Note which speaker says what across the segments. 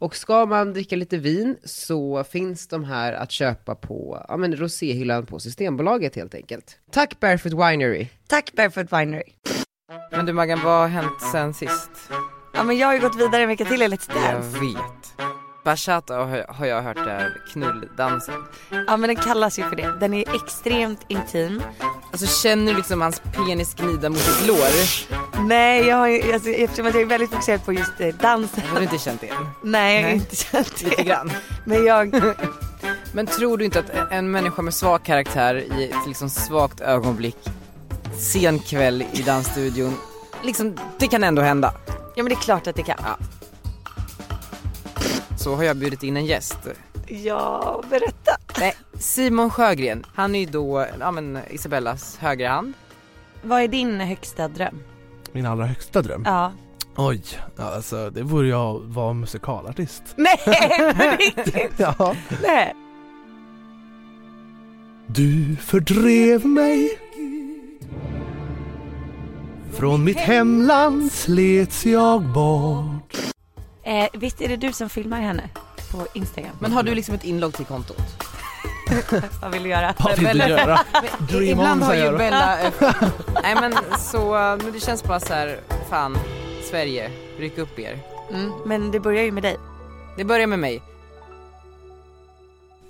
Speaker 1: Och ska man dricka lite vin så finns de här att köpa på ja, men roséhyllan på Systembolaget helt enkelt. Tack Barefoot Winery!
Speaker 2: Tack Barefoot Winery.
Speaker 3: Men du Maggan, vad har hänt sen sist?
Speaker 2: Ja, men jag har ju gått vidare en vecka till i Let's
Speaker 3: Jag
Speaker 2: Dance.
Speaker 3: vet. Bachata har- har jag hört är knulldansen.
Speaker 2: Ja, men den kallas ju för det. Den är extremt intim.
Speaker 3: Alltså känner du liksom hans penis gnida mot ditt lår?
Speaker 2: Nej, jag har ju, alltså, eftersom att jag är väldigt fokuserad på just eh, dansen.
Speaker 3: Har du inte känt det än?
Speaker 2: Nej, jag har
Speaker 3: Nej.
Speaker 2: inte känt
Speaker 3: Lite
Speaker 2: det.
Speaker 3: grann.
Speaker 2: Men jag,
Speaker 3: Men tror du inte att en människa med svag karaktär i ett liksom svagt ögonblick, sen kväll i dansstudion, liksom det kan ändå hända.
Speaker 2: ja men det är klart att det kan.
Speaker 3: Så har jag bjudit in en gäst.
Speaker 2: Ja, berätta.
Speaker 3: Nej, Simon Sjögren, han är ju då, ja men Isabellas högra hand.
Speaker 2: Vad är din högsta dröm?
Speaker 4: Min allra högsta dröm?
Speaker 2: Ja.
Speaker 4: Oj, ja, alltså det vore jag att vara musikalartist.
Speaker 2: Nej, på riktigt?
Speaker 4: Ja.
Speaker 2: Nej.
Speaker 4: Du fördrev mig Från mitt hemland slets jag bort
Speaker 2: Eh, visst är det du som filmar henne på Instagram?
Speaker 3: Men har du liksom ett inlogg till kontot?
Speaker 2: Vad vill du göra?
Speaker 4: Vad vill du göra? Dream
Speaker 3: Ibland
Speaker 4: on,
Speaker 3: har
Speaker 4: säger
Speaker 3: ju
Speaker 4: du.
Speaker 3: Bella, nej men så, men det känns bara så här, fan, Sverige, ryck upp er.
Speaker 2: Mm, men det börjar ju med dig.
Speaker 3: Det börjar med mig.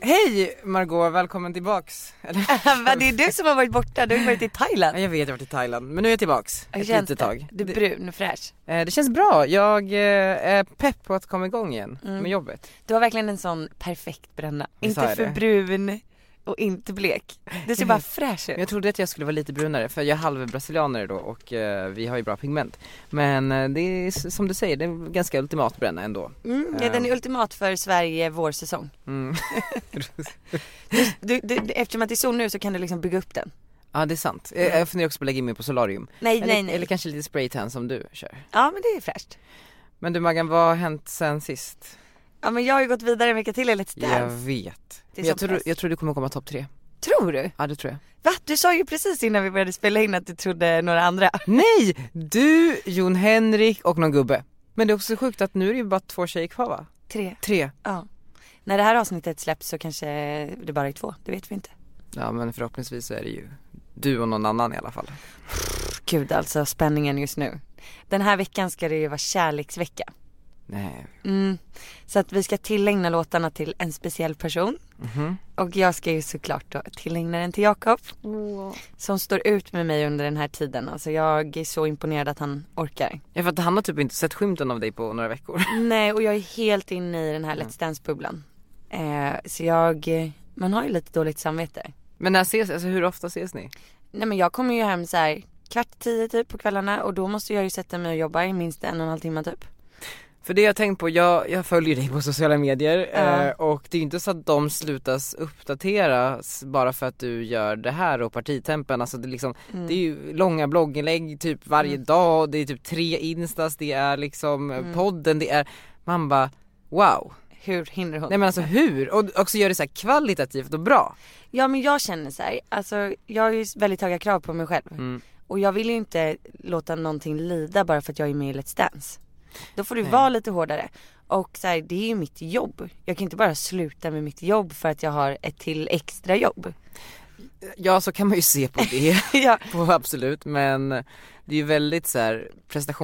Speaker 3: Hej Margot, välkommen tillbaks. Eller,
Speaker 2: Men det är du som har varit borta, du har ju varit i
Speaker 3: Ja,
Speaker 2: Thailand.
Speaker 3: jag vet, jag har varit i Thailand, men nu är jag tillbaks.
Speaker 2: Hur
Speaker 3: Ett
Speaker 2: känns
Speaker 3: litet
Speaker 2: det?
Speaker 3: tag.
Speaker 2: Du är
Speaker 3: Det-
Speaker 2: brun och fräsch.
Speaker 3: Eh, Det känns bra, jag eh, är pepp på att komma igång igen
Speaker 2: Mm.
Speaker 3: med jobbet.
Speaker 2: Du har verkligen en sån perfekt bränna.
Speaker 3: Visst har
Speaker 2: Inte
Speaker 3: jag
Speaker 2: för
Speaker 3: det.
Speaker 2: brun och inte blek. Du ser bara fräsch
Speaker 3: Men
Speaker 2: ut.
Speaker 3: Jag trodde att jag skulle vara lite brunare för jag är halvbrasilianare då och eh, vi har ju bra pigment. Men eh, det är s- som du säger, det är en ganska ultimat bränna ändå.
Speaker 2: Mm, ja, den är ultimat för Sverige vårsäsong.
Speaker 3: Mm.
Speaker 2: Du, du, du, eftersom att det är sol nu så kan du liksom bygga upp den.
Speaker 3: ja det är sant. Eh, Jag funderar också på att lägga in mig på solarium.
Speaker 2: Mm. Nej,
Speaker 3: Eller,
Speaker 2: nej, nej.
Speaker 3: eller kanske lite spraytan som du kör.
Speaker 2: Ja men det är fräscht.
Speaker 3: Men du Maggan, vad har hänt sen sist?
Speaker 2: Ja men jag har ju gått vidare en vecka till i Let's
Speaker 3: Jag
Speaker 2: Dance.
Speaker 3: vet.
Speaker 2: Det är
Speaker 3: Men Jag
Speaker 2: som
Speaker 3: tror,
Speaker 2: bäst.
Speaker 3: jag tror du kommer komma topp tre.
Speaker 2: Tror du?
Speaker 3: Ja det tror jag.
Speaker 2: Va? Du sa ju precis innan vi började spela in att du trodde några andra.
Speaker 3: Nej! Du, Jon Henrik och någon gubbe. Men det är också sjukt att nu är det ju bara två tjejer kvar va?
Speaker 2: Tre.
Speaker 3: Tre.
Speaker 2: Ja. När det här avsnittet släpps så kanske det bara är två, det vet vi inte.
Speaker 3: Ja men förhoppningsvis så är det ju du och någon annan i alla fall.
Speaker 2: Gud alltså spänningen just nu. Den här veckan ska det ju vara kärleksvecka.
Speaker 3: Nej.
Speaker 2: Mm. Så att vi ska tillägna låtarna till en speciell person.
Speaker 3: Mhm.
Speaker 2: Och jag ska ju såklart då tillägna den till Jakob. Som står ut med mig under den här tiden. Alltså jag är så imponerad att han orkar.
Speaker 3: Ja för att han har typ inte sett skymten av dig på några veckor.
Speaker 2: Nej och jag är helt inne i den här Let's Dance bubblan. Eh, så jag, man har ju lite dåligt samvete.
Speaker 3: Men när ses, alltså hur ofta ses ni?
Speaker 2: Nej men jag kommer ju hem så här kvart i tio typ på kvällarna och då måste jag ju sätta mig och jobba i minst en och en halv timme typ.
Speaker 3: För det jag har tänkt på, jag, jag följer dig på sociala medier
Speaker 2: Ja.
Speaker 3: eh, och det är inte så att de slutas uppdateras bara för att du gör det här och partitempen. Alltså det, är liksom, det är ju långa blogginlägg typ varje dag, det är typ tre instas, det är liksom eh, podden, det är, man bara wow.
Speaker 2: Hur hinner hon?
Speaker 3: Nej men alltså hur? Och också gör det så här kvalitativt och bra.
Speaker 2: Ja men jag känner så här, alltså jag har ju väldigt höga krav på mig själv.
Speaker 3: Mm.
Speaker 2: Och jag vill ju inte låta någonting lida bara för att jag är med i Let's Dance. Då får du vara lite hårdare. Och så här, det är ju mitt jobb. Jag kan inte bara sluta med mitt jobb för att jag har ett till extra jobb.
Speaker 3: Ja så kan man ju se på det.
Speaker 2: ja,
Speaker 3: på absolut men det är ju väldigt så här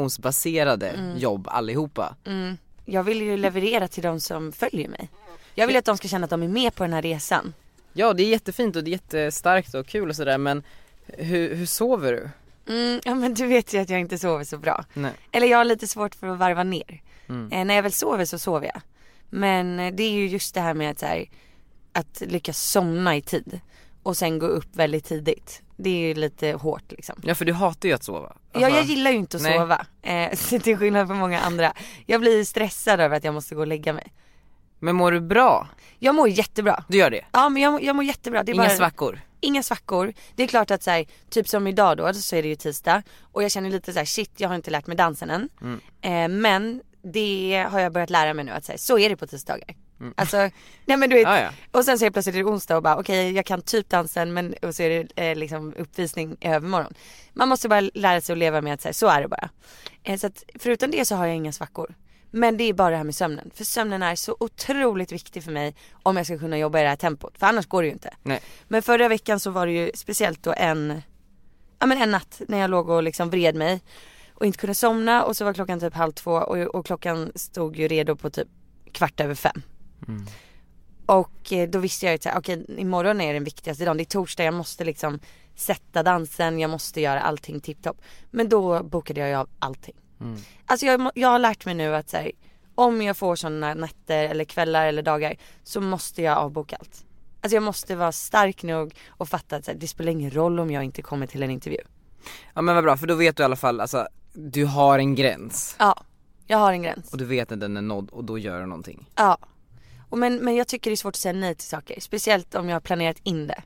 Speaker 3: prestationsbaserade jobb allihopa.
Speaker 2: mm, jag vill ju leverera till de som följer mig. Jag vill att de ska känna att de är med på den här resan.
Speaker 3: Ja det är jättefint och det är jättestarkt och kul och sådär men hur, hur sover du?
Speaker 2: Mm, ja men du vet ju att jag inte sover så bra.
Speaker 3: Nej.
Speaker 2: Eller jag har lite svårt för att varva ner.
Speaker 3: Mm.
Speaker 2: Eh, när jag väl sover så sover jag. Men eh, det är ju just det här med att, så här, att lyckas somna i tid. och sen gå upp väldigt tidigt. Det är ju lite hårt liksom.
Speaker 3: Ja för du hatar ju att sova. Alltså,
Speaker 2: Ja, jag gillar ju inte att
Speaker 3: nej.
Speaker 2: sova. Eh, så till skillnad från många andra. Jag blir stressad över att jag måste gå och lägga mig.
Speaker 3: Men mår du bra?
Speaker 2: Jag mår jättebra.
Speaker 3: Du gör det?
Speaker 2: Ja men jag, mår- jag mår jättebra. Det är
Speaker 3: Inga
Speaker 2: bara,
Speaker 3: svackor?
Speaker 2: inga svackor. Det är klart att så här, typ som idag då så är det ju tisdag och jag känner lite så här, shit jag har inte lärt mig dansen än. Eh, men det har jag börjat lära mig nu att så, här, så är det på tisdagar. Alltså, nej men du vet,
Speaker 3: Ja, ja.
Speaker 2: och sen så är det plötsligt det onsdag och bara okej jag kan typ dansen men och så är det eh, liksom uppvisning i övermorgon. Man måste bara lära sig att leva med att så, här, så är det bara. Eh, så att förutom det så har jag inga svackor. Men det är bara det här med sömnen. För sömnen är så otroligt viktig för mig om jag ska kunna jobba i det här tempot. För annars går det ju inte.
Speaker 3: Nej.
Speaker 2: Men förra veckan så var det ju speciellt då en, ja men en natt när jag låg och liksom vred mig och inte kunde somna och så var klockan typ halv två och, och klockan stod ju redo på typ kvart över fem.
Speaker 3: Mm.
Speaker 2: Och eh, då visste jag ju såhär, okej imorgon är den viktigaste dagen, det är torsdag, jag måste liksom sätta dansen, jag måste göra allting tipptopp. Men då bokade jag ju av allting.
Speaker 3: Mm.
Speaker 2: Alltså jag, må- jag har lärt mig nu att så här, om jag får sådana nätter eller kvällar eller dagar så måste jag avboka allt. Alltså jag måste vara stark nog och fatta att så här, det spelar ingen roll om jag inte kommer till en intervju.
Speaker 3: Ja men vad bra för då vet du i alla fall alltså, du har en gräns.
Speaker 2: Ja, jag har en gräns.
Speaker 3: Och du vet att den är nådd och då gör du någonting.
Speaker 2: Ja. Och men, men jag tycker det är svårt att säga nej till saker, speciellt om jag har planerat in det.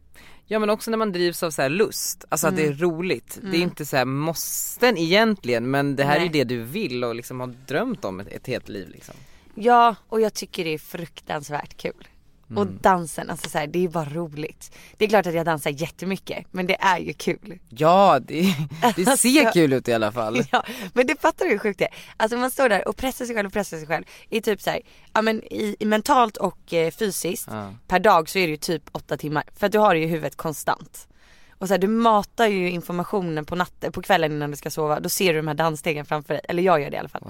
Speaker 3: Ja men också när man drivs av så här lust, alltså att det
Speaker 2: Mm.
Speaker 3: är roligt. Det är inte så här måsten egentligen men det här är
Speaker 2: Nej.
Speaker 3: ju det du vill och liksom har drömt om ett, ett helt liv liksom.
Speaker 2: Ja, och jag tycker det är fruktansvärt kul. Och dansen, alltså så här, det är bara roligt. Det är klart att jag dansar jättemycket, men det är ju kul.
Speaker 3: Ja det, det ser
Speaker 2: Alltså-
Speaker 3: kul ut i alla fall.
Speaker 2: Ja, men det fattar du hur sjukt det är? Alltså man står där och pressar sig själv och pressar sig själv i typ så här, ja men i, i mentalt och eh, fysiskt
Speaker 3: Ja.
Speaker 2: per dag så är det ju typ åtta timmar för att du har det ju i huvudet konstant. Och så här, du matar ju informationen på natten, på kvällen innan du ska sova, då ser du de här dansstegen framför dig, eller jag gör det i alla fall.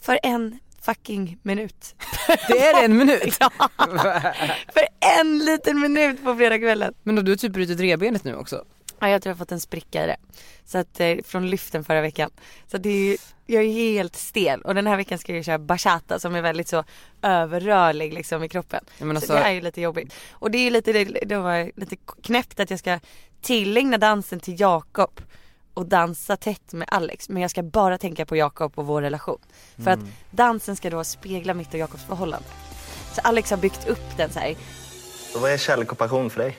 Speaker 2: För en fucking minut.
Speaker 3: Det är en minut.
Speaker 2: för en liten minut på fredagskvällen.
Speaker 3: Men då du har typ brutit revbenet nu också.
Speaker 2: Ja, jag tror jag har fått en spricka i det. Så att, eh, från lyften förra veckan. Så att det är ju, jag är helt stel och den här veckan ska jag köra bachata som är väldigt så överrörlig liksom i kroppen.
Speaker 3: Jag menar
Speaker 2: så,
Speaker 3: så-
Speaker 2: det är ju lite jobbigt. Och det är ju lite, det, det var lite knäppt att jag ska tillägna dansen till Jakob och dansa tätt med Alex men jag ska bara tänka på Jakob och vår relation. För att dansen ska då spegla mitt och Jakobs förhållande. Så Alex har byggt upp den så här
Speaker 5: Vad är kärlek och passion för dig?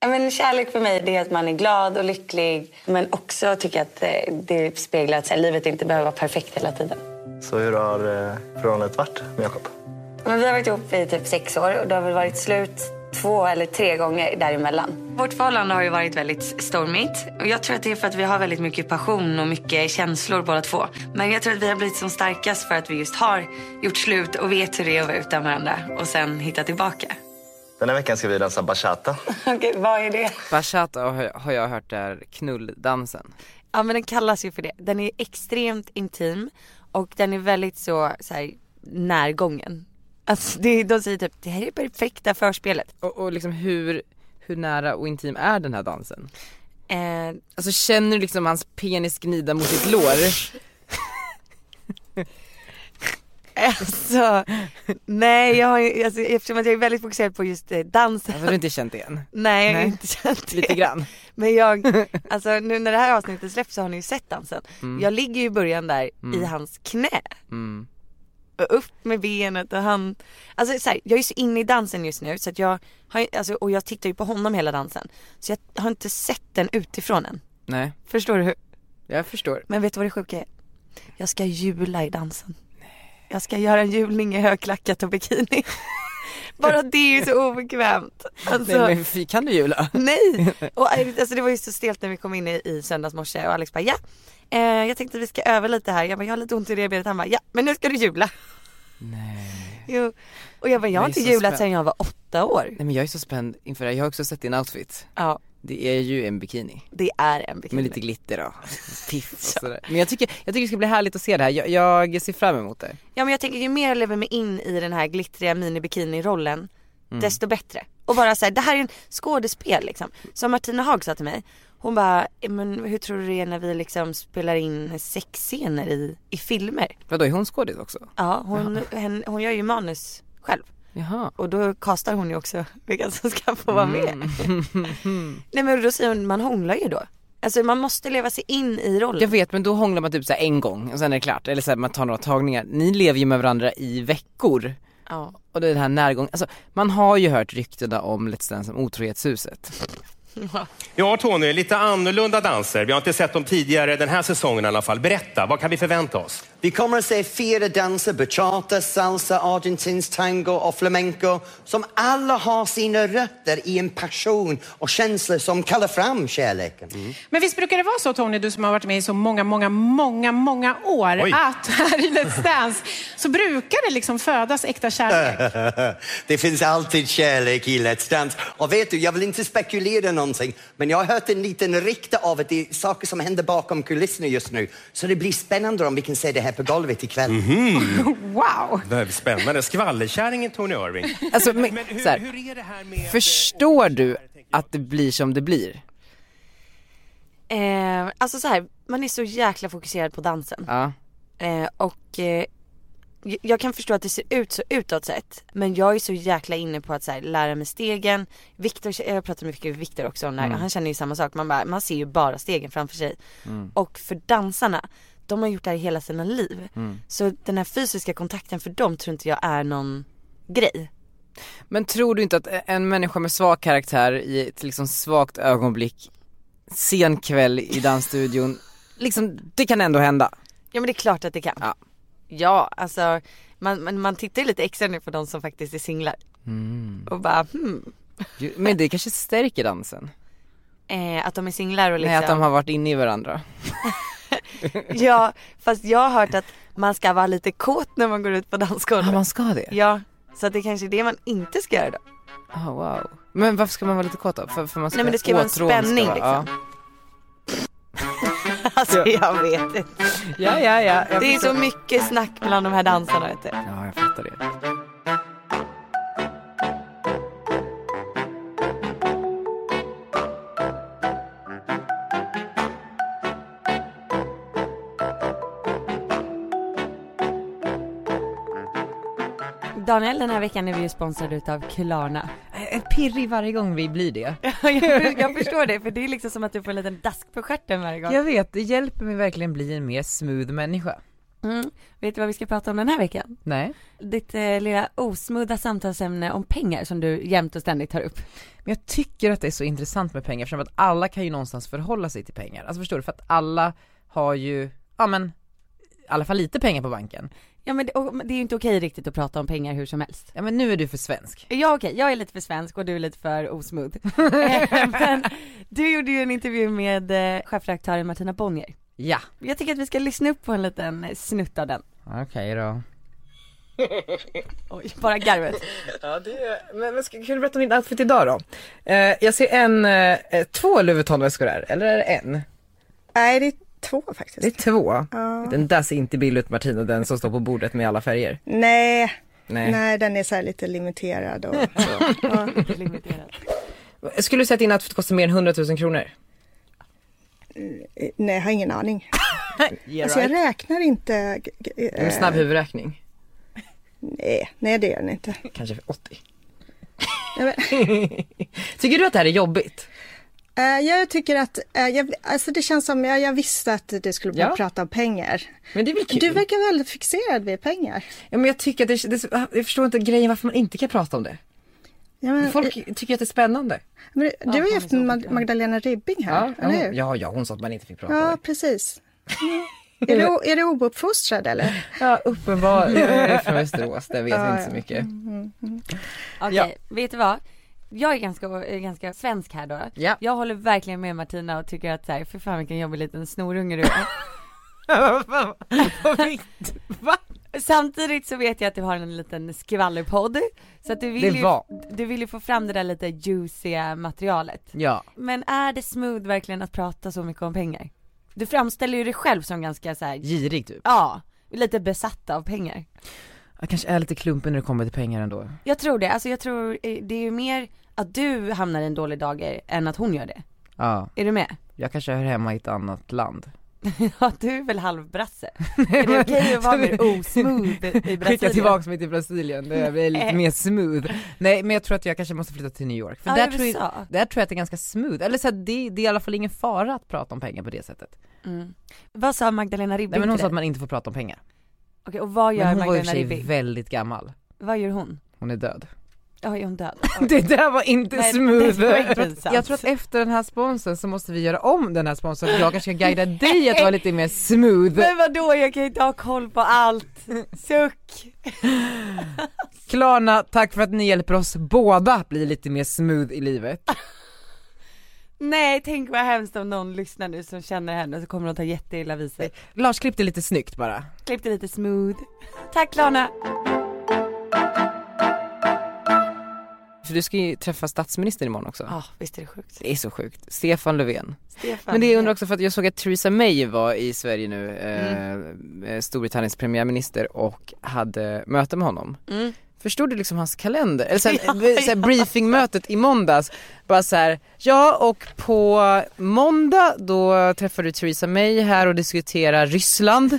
Speaker 2: Ja, men kärlek för mig det är att man är glad och lycklig men också tycker att eh, det speglar att så här, livet inte behöver vara perfekt hela tiden.
Speaker 5: Så hur har eh, förhållandet varit med Jakob?
Speaker 2: Men vi har varit ihop i typ sex år och det har väl varit slut två eller tre gånger däremellan. Vårt förhållande har ju varit väldigt stormigt och jag tror att det är för att vi har väldigt mycket passion och mycket känslor båda två. Men jag tror att vi har blivit som starkast för att vi just har gjort slut och vet hur det är att vara utan varandra och sen hitta tillbaka.
Speaker 5: Den här veckan ska vi dansa bachata.
Speaker 2: Okej, vad är det?
Speaker 3: Bachata har jag- har jag hört är knulldansen.
Speaker 2: Ja men den kallas ju för det. Den är extremt intim och den är väldigt så, så här, närgången. Alltså det, de säger typ det här är det perfekta förspelet.
Speaker 3: Och, och liksom hur, hur nära och intim är den här dansen?
Speaker 2: Eh,
Speaker 3: Alltså känner du liksom hans penis gnida mot ditt lår?
Speaker 2: alltså, nej jag har ju- alltså, eftersom att jag är väldigt fokuserad på just eh, dansen.
Speaker 3: Alltså du har inte känt det än?
Speaker 2: nej jag har
Speaker 3: nej.
Speaker 2: inte känt det.
Speaker 3: Lite grann?
Speaker 2: Men jag, alltså nu när det här avsnittet släpps så har ni ju sett dansen. Jag ligger ju i början där i hans knä.
Speaker 3: Mm.
Speaker 2: Och upp med benet och han, alltså så här, jag är så inne i dansen just nu så att jag har, ju- alltså, och jag tittar ju på honom hela dansen. Så jag har inte sett den utifrån än.
Speaker 3: Nej,
Speaker 2: Förstår du hur?
Speaker 3: jag förstår.
Speaker 2: Men vet du vad det sjuka är? Jag ska jula i dansen. Jag ska göra en julning i högklackat och bikini. Bara det är ju så obekvämt. Alltså,
Speaker 3: Nej men fy, kan du jula?
Speaker 2: Nej! Och alltså, det var ju så stelt när vi kom in i, i söndags morse och Alex bara ja, eh, jag tänkte vi ska öva lite här. Jag bara jag har lite ont i revbenet. Han bara ja, men nu ska du jula. Nej. Jo. Och jag bara jag har
Speaker 3: Det är
Speaker 2: inte
Speaker 3: så
Speaker 2: julat
Speaker 3: spä-
Speaker 2: sedan jag var åtta år.
Speaker 3: Nej men jag är så spänd inför det här, jag har också sett din outfit.
Speaker 2: Ja,
Speaker 3: Det är ju en bikini.
Speaker 2: det är en bikini.
Speaker 3: Med lite glitter och piff och sådär. Men jag tycker, jag tycker det ska bli härligt att se det här, jag, jag ser fram emot det.
Speaker 2: Ja men jag tänker ju mer jag lever mig in i den här glittriga minibikini-rollen
Speaker 3: Mm.
Speaker 2: desto bättre. Och bara säga det här är en skådespel liksom. Som Martina Haag sa till mig. Hon bara, men hur tror du det är när vi liksom spelar in sexscener i, i filmer?
Speaker 3: Vadå är hon skådis också?
Speaker 2: Ja, hon, hen- hon gör ju manus själv.
Speaker 6: Jaha.
Speaker 2: Och då kastar hon ju också vilka som ska få vara med.
Speaker 3: Mm.
Speaker 2: Nej men då säger hon, man hånglar ju då. Alltså man måste leva sig in i rollen.
Speaker 6: Jag vet men då hånglar man typ så här en gång och sen är det klart, eller så här, man tar några tagningar. Ni lever ju med varandra i veckor
Speaker 2: Ja.
Speaker 6: och det är den här närgången, alltså man har ju hört ryktena om Let's Dance som otrohetshuset.
Speaker 7: Ja, Tony, lite annorlunda danser. Vi har inte sett dem tidigare den här säsongen i alla fall. Berätta, vad kan vi förvänta oss?
Speaker 8: Vi kommer att se fyra danser, bachata, salsa, argentinsk tango och flamenco som alla har sina rötter i en passion och känslor som kallar fram kärleken.
Speaker 9: Men visst brukar det vara så Tony, du som har varit med i så många, många, många, många år,
Speaker 7: Oj.
Speaker 9: att här i Let's Dance så brukar det liksom födas äkta kärlek.
Speaker 8: Det finns alltid kärlek i Let's Dance. Och vet du, jag vill inte spekulera någonting, men jag har hört en liten rykte av att det är saker som händer bakom kulisserna just nu. Så det blir spännande om vi kan se det här på golvet ikväll.
Speaker 9: Wow!
Speaker 7: Det här är spännande. Skvallerkärringen Tony Irving.
Speaker 6: Alltså men,
Speaker 7: Men hur,
Speaker 6: så här,
Speaker 7: hur är det här med...
Speaker 6: förstår du att det blir som det blir?
Speaker 2: Eh, alltså så här, man är så jäkla fokuserad på dansen.
Speaker 6: Ja.
Speaker 2: Eh, och eh, j- jag kan förstå att det ser ut så utåt sett. Men jag är så jäkla inne på att så här, lära mig stegen. Viktor, jag pratar mycket med Viktor också om det här. Han känner ju samma sak. Man, bara, man ser ju bara stegen framför sig. Och för dansarna, de har gjort det här hela sina liv. Så den här fysiska kontakten för dem tror inte jag är någon grej.
Speaker 6: Men tror du inte att en människa med svag karaktär i ett liksom svagt ögonblick, sen kväll i dansstudion, liksom det kan ändå hända?
Speaker 2: Ja men det är klart att det kan.
Speaker 6: Ja.
Speaker 2: Ja, alltså man, man, man tittar ju lite extra nu på de som faktiskt är singlar.
Speaker 6: Mm.
Speaker 2: Och bara hmm.
Speaker 6: Ju- Men det kanske stärker dansen?
Speaker 2: Eh, att de är singlar och liksom.
Speaker 6: Nej att de har varit inne i varandra.
Speaker 2: Ja, fast jag har hört att man ska vara lite kåt när man går ut på dansgolvet.
Speaker 6: man ska det?
Speaker 2: Ja, så att det kanske är det man inte ska göra då.
Speaker 6: Ah wow. Men varför ska man vara lite kåt då? För, för man ska
Speaker 2: Nej, men det ska ju vara en
Speaker 6: åtrån ska
Speaker 2: spänning, liksom.
Speaker 6: vara- ja.
Speaker 2: Alltså jag vet inte.
Speaker 6: Ja, ja, ja. Jag
Speaker 2: Det är så
Speaker 6: förstår.
Speaker 2: mycket snack bland de här dansarna vet du.
Speaker 6: Ja, jag fattar det.
Speaker 2: Daniel, den här veckan är vi ju sponsrade utav Klarna.
Speaker 3: En Eh, pirrig varje gång vi blir det.
Speaker 2: jag, jag förstår det, för det är liksom som att du får en liten dask på stjärten varje gång.
Speaker 3: Jag vet, det hjälper mig verkligen bli en mer smooth människa.
Speaker 2: Mm. Vet du vad vi ska prata om den här veckan?
Speaker 3: Nej.
Speaker 2: Ditt eh, lilla osmudda samtalsämne om pengar som du jämt och ständigt tar upp.
Speaker 3: Men jag tycker att det är så intressant med pengar eftersom att alla kan ju någonstans förhålla sig till pengar. Alltså förstår du? För att alla har ju, ja men, i alla fall lite pengar på banken.
Speaker 2: Ja men det, och, men det är ju inte okej riktigt att prata om pengar hur som helst.
Speaker 3: Ja men nu är du för svensk.
Speaker 2: Ja okej, jag är lite för svensk och du är lite för osmooth. Men du gjorde ju en intervju med eh, chefredaktören Martina Bonnier.
Speaker 3: Ja.
Speaker 2: Jag tycker att vi ska lyssna upp på en liten eh, snutt av den.
Speaker 3: Okej då.
Speaker 2: Oj, bara garvet.
Speaker 3: Ja det, men, men ska, kan du berätta om din outfit idag då? Eh, jag ser en, eh, två Louboutin-väskor här, eller är det en?
Speaker 10: Nej, det är två
Speaker 3: Det är
Speaker 10: faktiskt.
Speaker 3: två. Den där ser inte billig ut Martina, den som står på bordet med alla färger.
Speaker 10: Nej.
Speaker 3: Nej.
Speaker 10: Nej. den är så här lite limiterad. Och, ja.
Speaker 3: Skulle du säga att din outfit kostar mer än 100 000 kronor?
Speaker 10: Eh, Nej, jag har ingen aning. Alltså jag räknar inte. g- g- eh,
Speaker 3: En snabb huvudräkning,
Speaker 10: nej, nej, det gör den inte.
Speaker 3: kanske 80.
Speaker 10: Nej, men,
Speaker 3: Tycker du att det här är jobbigt?
Speaker 10: eh, jag tycker att, eh, jag, alltså det känns som, jag, jag visste att du skulle
Speaker 3: Ja.
Speaker 10: bara prata om pengar.
Speaker 3: Men det är väl kul?
Speaker 10: Du verkar väldigt fixerad vid pengar.
Speaker 3: Ja men jag tycker att det, det, jag förstår inte grejen varför man inte kan prata om det.
Speaker 10: Ja, men, eh,
Speaker 3: Folk tycker att det är spännande.
Speaker 10: men, du har ju haft Mag- Magdalena Ribbing här,
Speaker 3: ja,
Speaker 10: eller hur?
Speaker 3: hon, ja, ja, hon sa att man inte fick prata om
Speaker 10: Ja,
Speaker 3: det.
Speaker 10: precis. Är du, är du ouppfostrad eller?
Speaker 3: Ja, uppenbarligen. Jag är från Västerås, där vet
Speaker 10: Ja,
Speaker 3: vi inte
Speaker 10: ja.
Speaker 3: så mycket.
Speaker 2: Okej, vet du vad? Jag är ganska, eh, ganska svensk här då.
Speaker 3: Ja.
Speaker 2: Jag håller verkligen med Martina och tycker att så här, för fan vilken jobbig liten snorunge du är. Samtidigt så vet jag att du har en liten skvallerpodd. Så att du vill,
Speaker 3: Det
Speaker 2: ju,
Speaker 3: var.
Speaker 2: du vill ju få fram det där lite juiciga materialet.
Speaker 3: Ja.
Speaker 2: Men är det smooth verkligen att prata så mycket om pengar? Du framställer ju dig själv som ganska så här,
Speaker 3: Girig typ.
Speaker 2: ja, lite besatt av pengar.
Speaker 3: Jag kanske är lite klumpen när det kommer till pengar ändå.
Speaker 2: Jag tror det, alltså jag tror eh, det är ju mer att du hamnar i en dålig dager än att hon gör det.
Speaker 3: Ja,
Speaker 2: Är du med?
Speaker 3: jag kanske hör hemma i ett annat land.
Speaker 2: ja du är väl halvbrasse? Är det okej att vara mer osmooth i
Speaker 11: Skicka
Speaker 2: Brasilien? Eh.
Speaker 11: tillbaka mig till Brasilien, det blir lite mer smooth. Nej men jag tror att jag kanske måste flytta till New York, för
Speaker 2: Ja,
Speaker 11: där,
Speaker 2: USA.
Speaker 11: tror jag, där tror jag att det är ganska smooth, eller så här, det, det är i alla fall ingen fara att prata om pengar på det sättet.
Speaker 2: Mm. Vad sa Magdalena Ribbing
Speaker 11: Nej men hon
Speaker 2: till
Speaker 11: sa att
Speaker 2: dig?
Speaker 11: man inte får prata om pengar.
Speaker 2: Okej, och vad gör
Speaker 11: Men hon var i och för
Speaker 2: Magdalena
Speaker 11: sig
Speaker 2: Ribbing?
Speaker 11: väldigt gammal,
Speaker 2: Vad gör hon?
Speaker 11: hon är död.
Speaker 2: Ja, är hon död?
Speaker 11: Det där var inte
Speaker 2: Nej,
Speaker 11: smooth.
Speaker 2: det var inte
Speaker 11: Jag tror att-
Speaker 2: pinsamt.
Speaker 11: jag tror att efter den här sponsen så måste vi göra om den här sponsen, jag kanske kan guida dig att vara lite mer smooth.
Speaker 2: Men vadå, jag kan ju inte ha koll på allt. Suck.
Speaker 11: Klarna, tack för att ni hjälper oss båda att bli lite mer smooth i livet.
Speaker 2: Nej, tänk vad hemskt om någon lyssnar nu som känner henne så kommer de ta jätteilla vid sig.
Speaker 11: Lars klipp det lite snyggt bara.
Speaker 2: Klipp det lite smooth. Tack Lana.
Speaker 3: För du ska ju träffa statsministern imorgon också.
Speaker 2: Ja, visst är det sjukt.
Speaker 3: Det är så sjukt. Stefan Löfven.
Speaker 2: Stefan.
Speaker 3: Men det jag undrar också för att jag såg att Theresa May var i Sverige nu, eh,
Speaker 2: Mm.
Speaker 3: eh, Storbritanniens premiärminister och hade möte med honom.
Speaker 2: Mm.
Speaker 3: Förstod du liksom hans kalender? Eller sen,
Speaker 2: Ja,
Speaker 3: så här, briefingmötet i måndags, bara så här, ja och på måndag då träffar du Theresa May här och diskuterar Ryssland.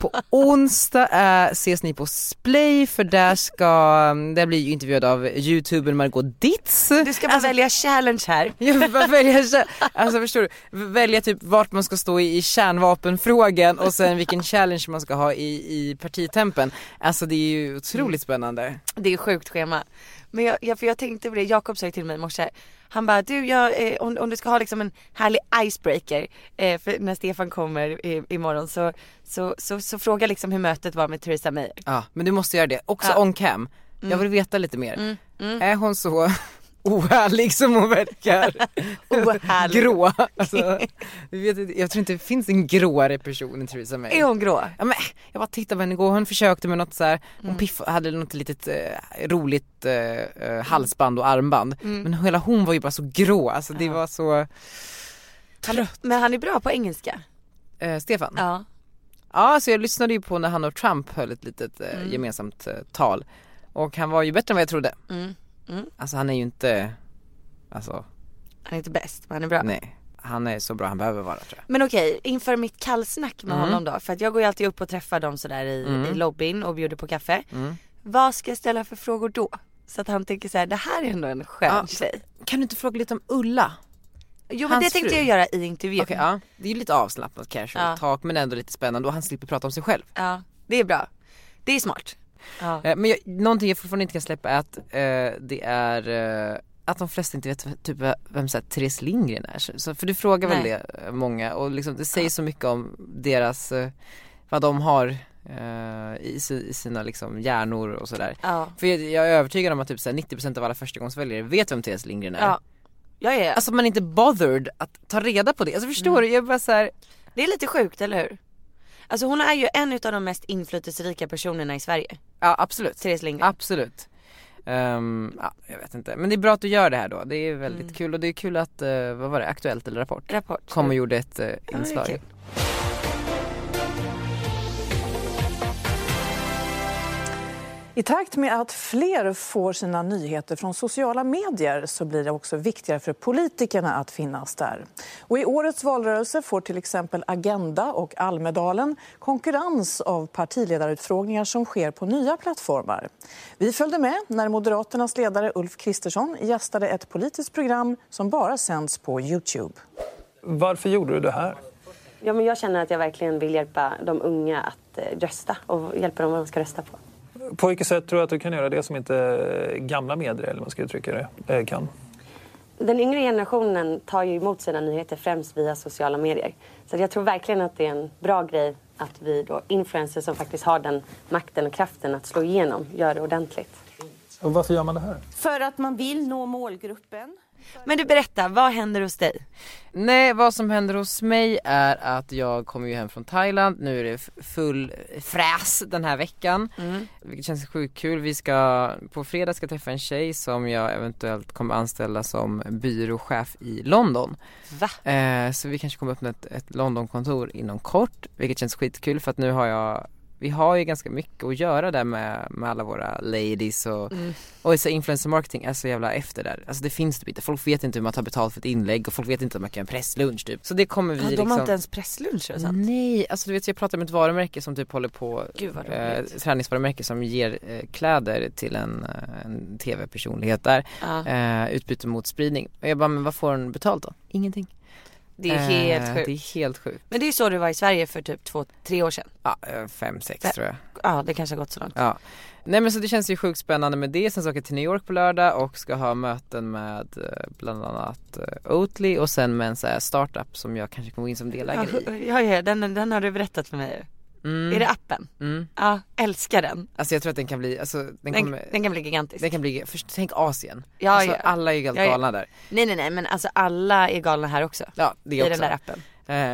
Speaker 3: På onsdag eh, ses ni på Splay för där ska, där blir ju intervjuad av youtubern Margot Ditz.
Speaker 2: Du ska bara välja challenge här.
Speaker 3: Ja, men bara välja, kär- alltså förstår du, V- välja typ vart man ska stå i, i kärnvapenfrågan och sen vilken challenge man ska ha i, i partitempen. Alltså det är ju otroligt spännande.
Speaker 2: Det är sjukt schema. Men jag, jag, för jag tänkte på det, Jakob sa ju till mig i morse. Han bara, du jag, eh, om, om du ska ha liksom en härlig icebreaker eh, för när Stefan kommer i, imorgon så, så, så, så fråga liksom hur mötet var med Theresa May.
Speaker 3: Ja, men du måste göra det. Också
Speaker 2: Ja.
Speaker 3: on cam. Jag vill veta lite mer.
Speaker 2: Mm, mm.
Speaker 3: Är hon så ohärlig som hon verkar? Oh,
Speaker 2: Ohärlig.
Speaker 3: Grå. Alltså, vi vet, inte- jag tror inte det finns en gråare person än Theresa May.
Speaker 2: Är hon grå?
Speaker 3: Ja, men, jag bara tittade på henne igår, hon försökte med något så här, hon piff, hade något litet eh, roligt eh, eh, halsband och armband. Men hela hon var ju bara så grå, alltså det var så,
Speaker 2: Han, men han är bra på engelska.
Speaker 3: eh, Stefan. Ja.
Speaker 2: Ja.
Speaker 3: så jag lyssnade ju på när han och Trump höll ett litet eh, gemensamt eh, tal. Och han var ju bättre än vad jag trodde.
Speaker 2: Mm. Mm.
Speaker 3: Alltså han är ju inte, alltså
Speaker 2: Han är inte bäst men han är bra.
Speaker 3: nej. Han är så bra han behöver vara tror jag.
Speaker 2: Men okej, inför mitt kallsnack
Speaker 3: Mm.
Speaker 2: med honom då. För att jag går ju alltid upp och träffar dem sådär i, i lobbyn och bjuder på kaffe.
Speaker 3: Mm.
Speaker 2: Vad ska jag ställa för frågor då? Så att han tänker så här, det här är ändå en skön
Speaker 3: Ja.
Speaker 2: tjej.
Speaker 3: Kan du inte fråga lite om Ulla?
Speaker 2: Jo men
Speaker 3: Hans
Speaker 2: det tänkte
Speaker 3: fru.
Speaker 2: jag göra i intervjun.
Speaker 3: Okej, ja. Det är ju lite avslappnat casual
Speaker 2: Ja.
Speaker 3: talk men ändå lite spännande och han slipper prata om sig själv.
Speaker 2: Ja, det är bra. Det är smart. Ja.
Speaker 3: Eh, Men jag, någonting jag fortfarande inte kan släppa är att eh, det är eh, att de flesta inte vet v- typ v- vem så här, Therese Lindgren är. Så, så- för du frågar väl
Speaker 2: Nej.
Speaker 3: det eh, många och liksom, det säger så mycket om deras, eh, vad de har eh, i, si- i sina liksom, hjärnor och sådär.
Speaker 2: Ja.
Speaker 3: För jag, jag är övertygad om att typ så här, 90% av alla förstagångsväljare vet vem Therese Lindgren är.
Speaker 2: Ja. Ja, ja, ja.
Speaker 3: Alltså man är inte bothered att ta reda på det. Alltså förstår
Speaker 2: Mm.
Speaker 3: du? Jag är bara så här,
Speaker 2: Det är lite sjukt, eller hur? Alltså hon är ju en utav de mest inflytelserika personerna i Sverige.
Speaker 3: ja absolut.
Speaker 2: Therese Lindgren.
Speaker 3: Absolut. Ehm, ja, jag vet inte. Men det är bra att du gör det här då. Det är väldigt
Speaker 2: Mm.
Speaker 3: kul och det är kul att, eh, vad var det, Aktuellt eller Rapport?
Speaker 2: Rapport.
Speaker 3: Kom och gjorde ett eh,
Speaker 2: det är
Speaker 3: inslag.
Speaker 2: kul.
Speaker 9: I takt med att fler får sina nyheter från sociala medier så blir det också viktigare för politikerna att finnas där. Och I årets valrörelse får till exempel Agenda och Almedalen konkurrens av partiledarutfrågningar som sker på nya plattformar. Vi följde med när Moderaternas ledare Ulf Kristersson gästade ett politiskt program som bara sänds på Youtube.
Speaker 12: Varför gjorde du det här?
Speaker 13: Ja, men jag känner att jag verkligen vill hjälpa de unga att eh, rösta och hjälpa dem vad de ska rösta på.
Speaker 12: På vilket sätt tror du att du kan göra det som inte eh, gamla medier, eller hur man ska uttrycka det, eh, kan?
Speaker 13: Den yngre generationen tar ju emot sina nyheter främst via sociala medier. Så att jag tror verkligen att det är en bra grej att vi då influencers som faktiskt har den makten och kraften att slå igenom gör det ordentligt.
Speaker 12: Och varför gör man det här?
Speaker 14: För att man vill nå målgruppen.
Speaker 2: Men du berätta, vad händer hos dig?
Speaker 3: Nej, vad som händer hos mig är att jag kommer ju hem från Thailand. Nu är det f- full fräs den här veckan.
Speaker 2: Mm.
Speaker 3: Vilket känns sjukt kul. Vi ska, på fredag ska jag träffa en tjej som jag eventuellt kommer anställa som byråchef i London.
Speaker 2: Va?
Speaker 3: Eh, så vi kanske kommer öppna ett, ett Londonkontor inom kort, vilket känns skitkul för att nu har jag vi har ju ganska mycket att göra där med, med alla våra ladies och,
Speaker 2: Mm.
Speaker 3: och så influencer marketing är så jävla efter där. Alltså det finns typ inte, folk vet inte hur man tar betalt för ett inlägg och folk vet inte hur man kan göra en presslunch typ. Så det kommer vi
Speaker 2: Ja, de
Speaker 3: liksom
Speaker 2: har inte ens pressluncher och sånt.
Speaker 3: Nej, alltså du vet jag pratade med ett varumärke som typ håller på,
Speaker 2: Gud, vad
Speaker 3: eh,
Speaker 2: roligt.
Speaker 3: träningsvarumärke som ger eh, kläder till en, eh, en tv-personlighet där,
Speaker 2: Ja.
Speaker 3: eh, utbyte mot spridning. Och jag bara, men vad får hon betalt då? Ingenting.
Speaker 2: Det är helt sjukt.
Speaker 3: Eh, Det är helt sjukt.
Speaker 2: Men det är så det var i Sverige för typ två, tre år sedan.
Speaker 3: Ja, eh, fem, sex
Speaker 2: Fem.
Speaker 3: tror jag.
Speaker 2: Ja, det kanske har gått så långt.
Speaker 3: Ja. Nej men så det känns ju sjukt spännande med det. Sen så åker jag till New York på lördag och ska ha möten med eh, bland annat eh, Oatly och sen med en så här startup som jag kanske kommer gå in som
Speaker 2: Ja,
Speaker 3: delägare i.
Speaker 2: ja, ja den, den har du berättat för mig ju.
Speaker 3: Mm.
Speaker 2: Är det appen?
Speaker 3: Mm.
Speaker 2: Ja, älskar den.
Speaker 3: Alltså jag tror att den kan bli, alltså den,
Speaker 2: Den,
Speaker 3: kommer,
Speaker 2: den kan bli gigantisk.
Speaker 3: den kan bli, först, tänk Asien.
Speaker 2: Ja,
Speaker 3: alltså,
Speaker 2: ja.
Speaker 3: alla är ju helt
Speaker 2: Ja, ja.
Speaker 3: galna där.
Speaker 2: Nej nej nej men alltså alla är galna här också.
Speaker 3: Ja, det
Speaker 2: I
Speaker 3: också.
Speaker 2: den där appen.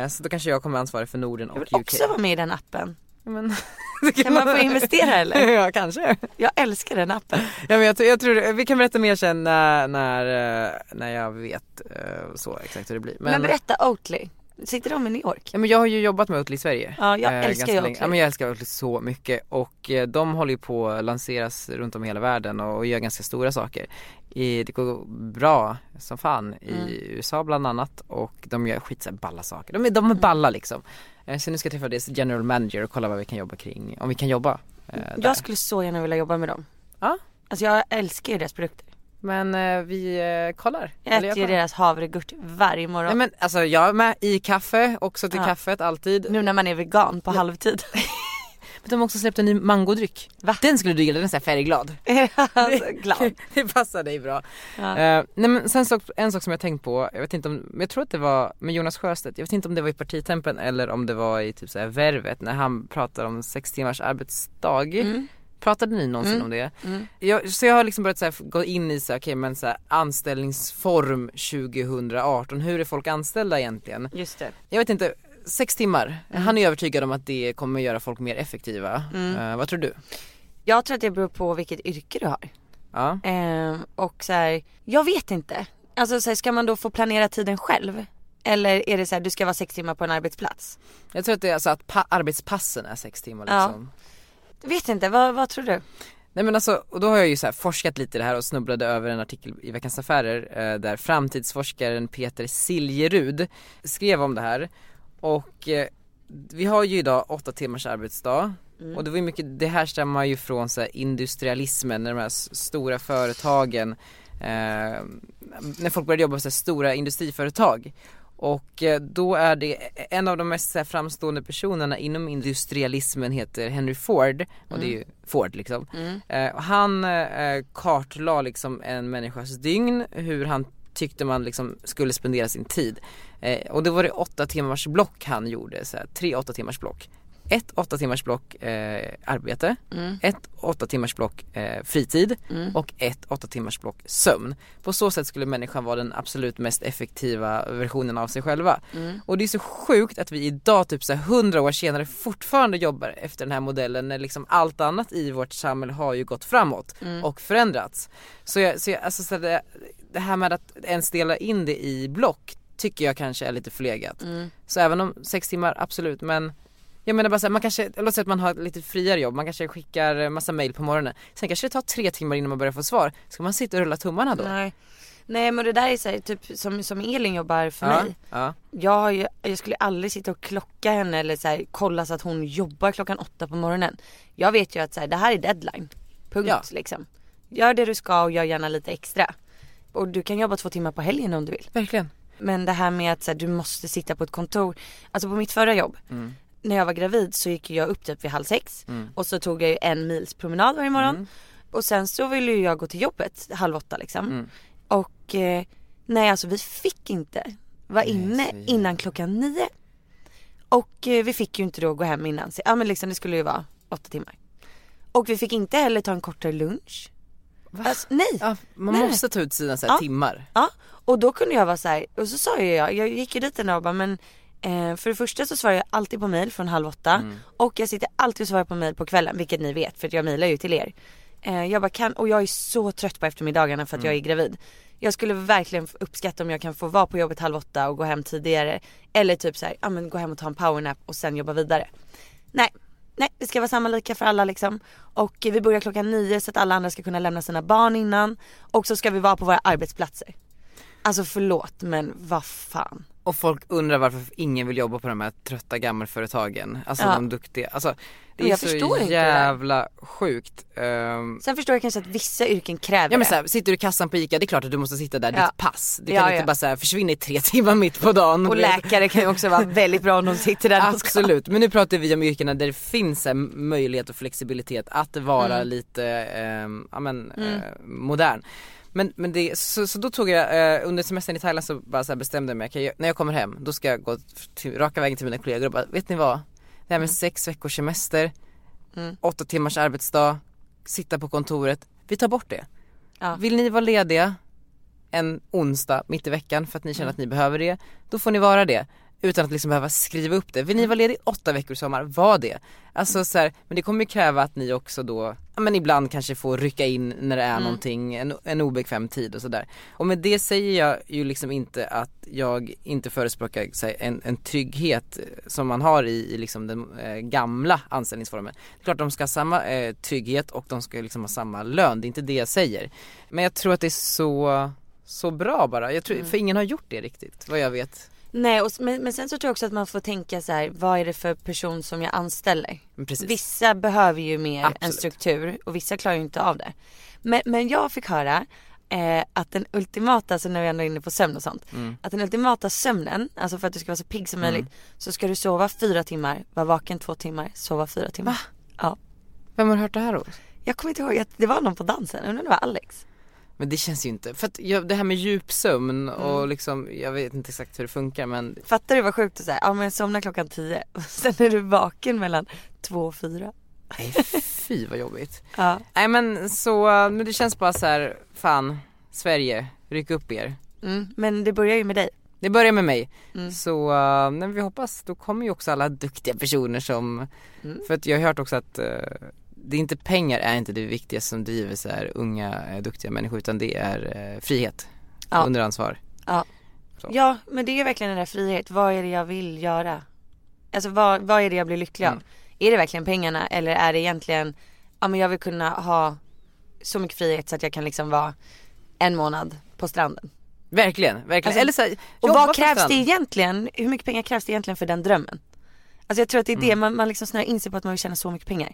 Speaker 3: Eh, så då kanske jag kommer vara ansvarig för Norden och
Speaker 2: Jag
Speaker 3: UK.
Speaker 2: vill också vara med i den appen.
Speaker 3: Men,
Speaker 2: kan man få investera eller?
Speaker 3: ja, kanske.
Speaker 2: Jag älskar den appen.
Speaker 3: Ja, men jag, tror- jag tror, vi kan berätta mer sen när, när, eh, när jag vet eh, så exakt hur det blir.
Speaker 2: Men, berätta Oatly. Sitter de i New York?
Speaker 3: Ja, men jag har ju jobbat med Oatly i Sverige.
Speaker 2: Ja, jag
Speaker 3: eh,
Speaker 2: älskar
Speaker 3: ganska
Speaker 2: ju
Speaker 3: länge.
Speaker 2: Oatly.
Speaker 3: Ja, men jag älskar Oatly så mycket och eh, de håller ju på att lanseras runt om i hela världen och gör ganska stora saker. I, det går bra som fan i
Speaker 2: Mm.
Speaker 3: USA bland annat och de gör skit så här balla saker. De är, de är
Speaker 2: Mm.
Speaker 3: balla liksom. Eh, Så nu ska jag träffa deras general manager och kolla vad vi kan jobba kring, om vi kan jobba. eh, där.
Speaker 2: Mm, Jag skulle så gärna vilja jobba med dem.
Speaker 3: Ja.
Speaker 2: Alltså jag älskar ju deras produkter.
Speaker 3: Men eh, vi eh, kollar.
Speaker 2: Jag
Speaker 3: Eller
Speaker 2: äter ju
Speaker 3: kollar.
Speaker 2: deras havregurt varje morgon.
Speaker 3: Nej men alltså jag är med i kaffe, också till
Speaker 2: Ja.
Speaker 3: kaffet alltid.
Speaker 2: Nu när man är vegan på halvtid.
Speaker 3: Men de har också släppt en ny mangodryck. Den skulle du gilla, den är så här färgglad.
Speaker 2: alltså, glad.
Speaker 3: det passar dig bra.
Speaker 2: Ja.
Speaker 3: Eh, nej men sen så, en sak som jag tänkt på, jag vet inte om, men jag tror att det var med Jonas Sjöstedt, jag vet inte om det var i partitempen eller om det var i typ så här Värvet när han pratade om sex timmars arbetsdag. Pratade ni någonsin
Speaker 2: Mm.
Speaker 3: om det?
Speaker 2: Mm.
Speaker 3: Jag, så jag har liksom börjat så här, gå in i så här, okej, men så här, anställningsform 2018, hur är folk anställda egentligen?
Speaker 2: Just det.
Speaker 3: Jag vet inte, sex timmar,
Speaker 2: Mm.
Speaker 3: han är övertygad om att det kommer göra folk mer effektiva.
Speaker 2: Mm.
Speaker 3: Eh, vad tror du?
Speaker 2: Jag tror att det beror på vilket yrke du har.
Speaker 3: Ja.
Speaker 2: Ehm, och så här, jag vet inte. Alltså så här, ska man då få planera tiden själv? Eller är det så här, du ska vara sex timmar på en arbetsplats?
Speaker 3: Jag tror att det är alltså att pa- arbetspassen är sex timmar
Speaker 2: Ja.
Speaker 3: liksom.
Speaker 2: Jag vet inte, vad, vad tror du?
Speaker 3: Nej men alltså, och då har jag ju så här forskat lite i det här och snubblade över en artikel i Veckans Affärer eh, där framtidsforskaren Peter Siljerud skrev om det här. Och eh, vi har ju idag åtta timmars arbetsdag
Speaker 2: Mm.
Speaker 3: och det var ju mycket, det härstammar ju från så här industrialismen när de här s- stora företagen, eh, när folk började jobba på så här stora industriföretag. Och eh, då är det en av de mest så här, framstående personerna inom industrialismen heter Henry Ford och det är ju Ford liksom.
Speaker 2: Mm.
Speaker 3: Eh, och han eh, kartlade liksom en människas dygn, hur han tyckte man liksom skulle spendera sin tid. Eh, och då var det åtta timmars block han gjorde, så här, tre åtta timmars block. Ett åtta timmars block eh, arbete,
Speaker 2: Mm.
Speaker 3: ett åtta timmars block eh, fritid
Speaker 2: Mm.
Speaker 3: och ett åtta timmars block sömn. På så sätt skulle människan vara den absolut mest effektiva versionen av sig själva.
Speaker 2: Mm.
Speaker 3: Och det är så sjukt att vi idag, typ så här 100 år senare, fortfarande jobbar efter den här modellen när liksom allt annat i vårt samhälle har ju gått framåt
Speaker 2: Mm.
Speaker 3: och förändrats. Så, jag, så, jag, alltså, så det, det här med att ens dela in det i block tycker jag kanske är lite förlegat.
Speaker 2: Mm.
Speaker 3: Så även om sex timmar, absolut, men jag menar bara så här, man kanske, låt säga att man har ett lite friare jobb, man kanske skickar eh, massa mail på morgonen. Sen kanske det tar tre timmar innan man börjar få svar. Ska man sitta och rulla tummarna då?
Speaker 2: Nej. Nej men det där är så här, typ som, som Elin jobbar för
Speaker 3: ja,
Speaker 2: mig.
Speaker 3: ja.
Speaker 2: Jag, har ju, jag skulle aldrig sitta och klocka henne eller så här, kolla så att hon jobbar klockan åtta på morgonen. Jag vet ju att så här, det här är deadline. Punkt
Speaker 3: Ja.
Speaker 2: liksom. Gör det du ska och gör gärna lite extra. Och du kan jobba två timmar på helgen om du vill.
Speaker 3: Verkligen.
Speaker 2: Men det här med att så här, du måste sitta på ett kontor. Alltså på mitt förra jobb.
Speaker 3: Mm.
Speaker 2: När jag var gravid så gick jag upp typ vid halv sex.
Speaker 3: Mm.
Speaker 2: Och så tog jag ju en mils promenad varje morgon. Och sen så ville ju jag gå till jobbet halv åtta liksom.
Speaker 3: Mm.
Speaker 2: Och eh, nej alltså vi fick inte vara inne innan klockan nio. Och eh, vi fick ju inte då gå hem innan. Så, ja men liksom det skulle ju vara åtta timmar. Och vi fick inte heller ta en kortare lunch. Alltså, nej.
Speaker 3: Man
Speaker 2: nej.
Speaker 3: måste ta ut sina så här
Speaker 2: Ja.
Speaker 3: timmar.
Speaker 2: Ja, och då kunde jag vara så här, och så sa ju jag, jag gick ju dit den dag och bara men eh, för det första så svarar jag alltid på mail från halv åtta och jag sitter alltid och svarar på mail på kvällen vilket ni vet för att jag mailar ju till er. Eh, jag bara kan, och jag är så trött på eftermiddagarna för att jag är gravid. Jag skulle verkligen uppskatta om jag kan få vara på jobbet halv åtta och gå hem tidigare eller typ så här, ja men gå hem och ta en powernap och sen jobba vidare. Nej, nej det ska vara samma lika för alla liksom. Och eh, vi börjar klockan nio så att alla andra ska kunna lämna sina barn innan. Och så ska vi vara på våra arbetsplatser. Alltså förlåt men vad fan.
Speaker 3: Och folk undrar varför ingen vill jobba på de här trötta gammelföretagen. Alltså
Speaker 2: Ja.
Speaker 3: de duktiga. Alltså, det
Speaker 2: Men
Speaker 3: är
Speaker 2: jag förstår
Speaker 3: så
Speaker 2: inte det.
Speaker 3: jävla sjukt. Ehm,
Speaker 2: Sen förstår jag kanske att vissa yrken kräver
Speaker 3: Ja men
Speaker 2: det.
Speaker 3: såhär, sitter du i kassan på ICA, det är klart att du måste sitta där
Speaker 2: Ja.
Speaker 3: ditt pass. Det
Speaker 2: Ja,
Speaker 3: kan inte
Speaker 2: ja.
Speaker 3: bara såhär försvinna i tre timmar mitt på dagen.
Speaker 2: Och läkare kan ju också vara väldigt bra om de sitter där också.
Speaker 3: Absolut, men nu pratar vi om yrkena där det finns en möjlighet och flexibilitet att vara
Speaker 2: Mm.
Speaker 3: lite, ehm, ja men,
Speaker 2: Mm.
Speaker 3: eh, modern. Men, men det, så, så då tog jag, eh, under semestern i Thailand så bara så här bestämde jag mig, okej, jag- när jag kommer hem då ska jag gå till, raka vägen till mina kollegor och bara, vet ni vad? Det
Speaker 2: Mm.
Speaker 3: här med sex veckors semester, åtta timmars arbetsdag, sitta på kontoret, vi tar bort det. Vill ni vara lediga en onsdag mitt i veckan för att ni känner att ni behöver det, då får ni vara det. Utan att liksom behöva skriva upp det. Vill ni vara ledig åtta veckor i sommar, var det. Alltså så här, men det kommer ju kräva att ni också då, ja men ibland kanske får rycka in när det är
Speaker 2: Mm.
Speaker 3: någonting, en, en obekväm tid och sådär. Och med det säger jag ju liksom inte att jag inte förespråkar så här, en, en trygghet eh, som man har i, i liksom den eh, gamla anställningsformen. Det är klart de ska ha samma eh, trygghet och de ska ju liksom ha samma lön, det är inte det jag säger. Men jag tror att det är så, så bra bara. Jag
Speaker 2: Mm.
Speaker 3: tror, För ingen har gjort det riktigt, vad jag vet.
Speaker 2: Nej och, s- men, men sen så tror jag också att man får tänka så här, vad är det för person som jag anställer?
Speaker 3: Men precis.
Speaker 2: Vissa behöver ju mer en
Speaker 3: Absolut.
Speaker 2: struktur och vissa klarar ju inte av det. Men, men jag fick höra eh, att den ultimata, alltså när vi ändå är inne på sömn och sånt,
Speaker 3: Mm.
Speaker 2: att den ultimata sömnen, alltså för att du ska vara så pigg som
Speaker 3: Mm.
Speaker 2: möjligt, så ska du sova fyra timmar, vara vaken två timmar, sova fyra timmar. Va? Ja.
Speaker 3: Vem har hört det här hos?
Speaker 2: Jag kommer inte ihåg, att det var någon på dansen, undrar om det var Alex.
Speaker 3: Men det känns ju inte, för att jag, det här med djupsömn och
Speaker 2: Mm.
Speaker 3: liksom, jag vet inte exakt hur det funkar men
Speaker 2: Fattar du vad sjukt att säga, ja men somna klockan tio och sen är du vaken mellan två och fyra.
Speaker 3: fy vad jobbigt.
Speaker 2: Ja.
Speaker 3: Nej men så, men det känns bara så här, fan, Sverige, ryck upp er.
Speaker 2: Mm, men det börjar ju med dig.
Speaker 3: Det börjar med mig.
Speaker 2: Mm.
Speaker 3: Så eh, nej, men vi hoppas, då kommer ju också alla duktiga personer som,
Speaker 2: Mm.
Speaker 3: för att jag har hört också att eh, det är inte pengar är inte det viktigaste som driver så här unga eh, duktiga människor utan det är eh, frihet
Speaker 2: Ja.
Speaker 3: under ansvar.
Speaker 2: Ja.
Speaker 3: Så.
Speaker 2: ja, men det är verkligen den där frihet. Vad är det jag vill göra? Alltså vad, vad är det jag blir lycklig av? Är det verkligen pengarna eller är det egentligen, ja men jag vill kunna ha så mycket frihet så att jag kan liksom vara en månad på stranden.
Speaker 3: Verkligen, verkligen.
Speaker 2: Alltså,
Speaker 3: Eller så här,
Speaker 2: Och
Speaker 3: jobba på
Speaker 2: vad krävs det
Speaker 3: stranden.
Speaker 2: egentligen? Hur mycket pengar krävs det egentligen för den drömmen? Alltså jag tror att det är det,
Speaker 3: Mm.
Speaker 2: man, man liksom snöar in sig på att man vill tjäna så mycket pengar.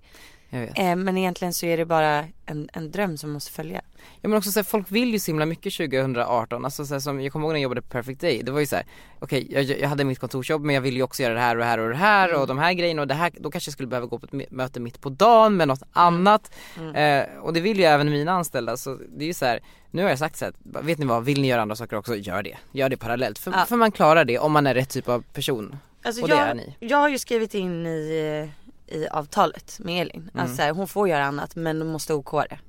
Speaker 3: Jag vet.
Speaker 2: Eh, men egentligen så är det bara en, en dröm som måste följa.
Speaker 3: Ja men också såhär, folk vill ju så himla mycket 2018, alltså såhär, som, jag kommer ihåg när jag jobbade på Perfect Day, det var ju såhär, okej jag, jag hade mitt kontorsjobb men jag ville ju också göra det här och det här och det här
Speaker 2: Mm.
Speaker 3: och de här grejerna och det här, då kanske jag skulle behöva gå på ett mö- möte mitt på dagen med något
Speaker 2: Mm.
Speaker 3: annat. Eh, och det vill ju även mina anställda så det är ju såhär, nu har jag sagt såhär, bara, vet ni vad, vill ni göra andra saker också, gör det. Gör det parallellt, för,
Speaker 2: Ja.
Speaker 3: för man klarar det om man är rätt typ av person.
Speaker 2: Alltså
Speaker 3: och
Speaker 2: jag,
Speaker 3: det är ni.
Speaker 2: jag har ju skrivit in i, eh, i avtalet med Elin. Alltså
Speaker 3: Mm.
Speaker 2: så här, hon får göra annat men hon måste OK det.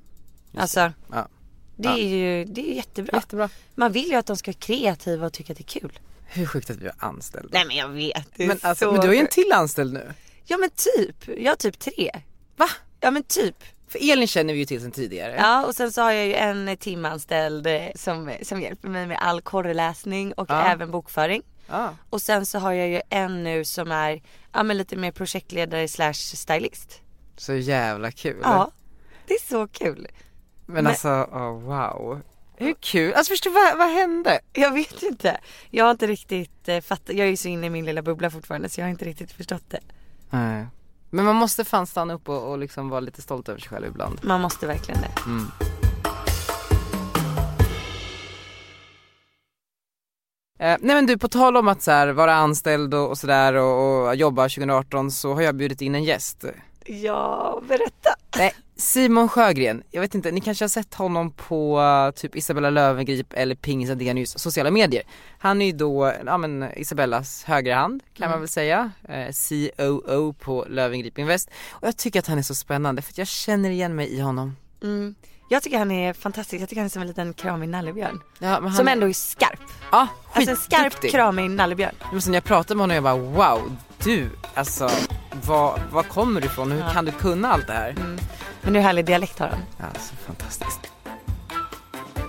Speaker 2: Alltså det,
Speaker 3: Ja. Ja.
Speaker 2: är ju det är ju jättebra.
Speaker 3: jättebra.
Speaker 2: Man vill ju att de ska vara kreativa och tycka att det är kul.
Speaker 3: Hur sjukt att vi har anställd.
Speaker 2: Nej men jag vet. Det är
Speaker 3: Men, alltså,
Speaker 2: så
Speaker 3: men du har ju en
Speaker 2: sjukt.
Speaker 3: till anställd nu.
Speaker 2: Ja men typ. Jag har typ tre.
Speaker 3: Va?
Speaker 2: Ja men typ.
Speaker 3: För Elin känner vi ju till sedan tidigare.
Speaker 2: Ja och sen så har jag ju en timanställd eh, som, som hjälper mig med all korreläsning och
Speaker 3: Ja.
Speaker 2: även bokföring.
Speaker 3: Ja.
Speaker 2: Och sen så har jag ju en nu som är ja, men lite mer projektledare slash stylist.
Speaker 3: Så jävla kul.
Speaker 2: Ja, det är så kul.
Speaker 3: Men,
Speaker 2: Men-
Speaker 3: alltså, oh, wow. Hur kul, alltså förstår du vad, vad hände?
Speaker 2: Jag vet inte. Jag har inte riktigt eh, fattat. Jag är ju så inne i min lilla bubbla fortfarande så jag har inte riktigt förstått det.
Speaker 3: Nej. Men man måste fan stanna upp och, och liksom vara lite stolt över sig själv ibland.
Speaker 2: Man måste verkligen det.
Speaker 3: Mm. Eh, nej men du, på tal om att så här, vara anställd och, och sådär och, och jobba 2018 så har jag bjudit in en gäst.
Speaker 2: Ja, berätta.
Speaker 3: Nej, Simon Sjögren, jag vet inte, ni kanske har sett honom på eh, typ Isabella Löwengrip eller Pingis Adenius sociala medier. Han är ju då, ja men Isabellas högra hand kan
Speaker 2: Mm.
Speaker 3: man väl säga, eh, COO på Löwengrip Invest. Och jag tycker att han är så spännande för att jag känner igen mig i honom.
Speaker 2: Mm. Jag tycker han är fantastisk. Jag tycker han är som en liten kramig nallebjörn.
Speaker 3: Ja, men han-
Speaker 2: Som ändå är skarp.
Speaker 3: Ja,
Speaker 2: Alltså en skarp
Speaker 3: skitduktig.
Speaker 2: kramig nallebjörn.
Speaker 3: Men sen när jag pratade med honom jag bara wow, du alltså, vad, vad kommer du ifrån? Hur
Speaker 2: Ja. Mm.
Speaker 3: kan du kunna allt det här?
Speaker 2: Men hur härlig dialekt har han.
Speaker 3: Alltså fantastiskt.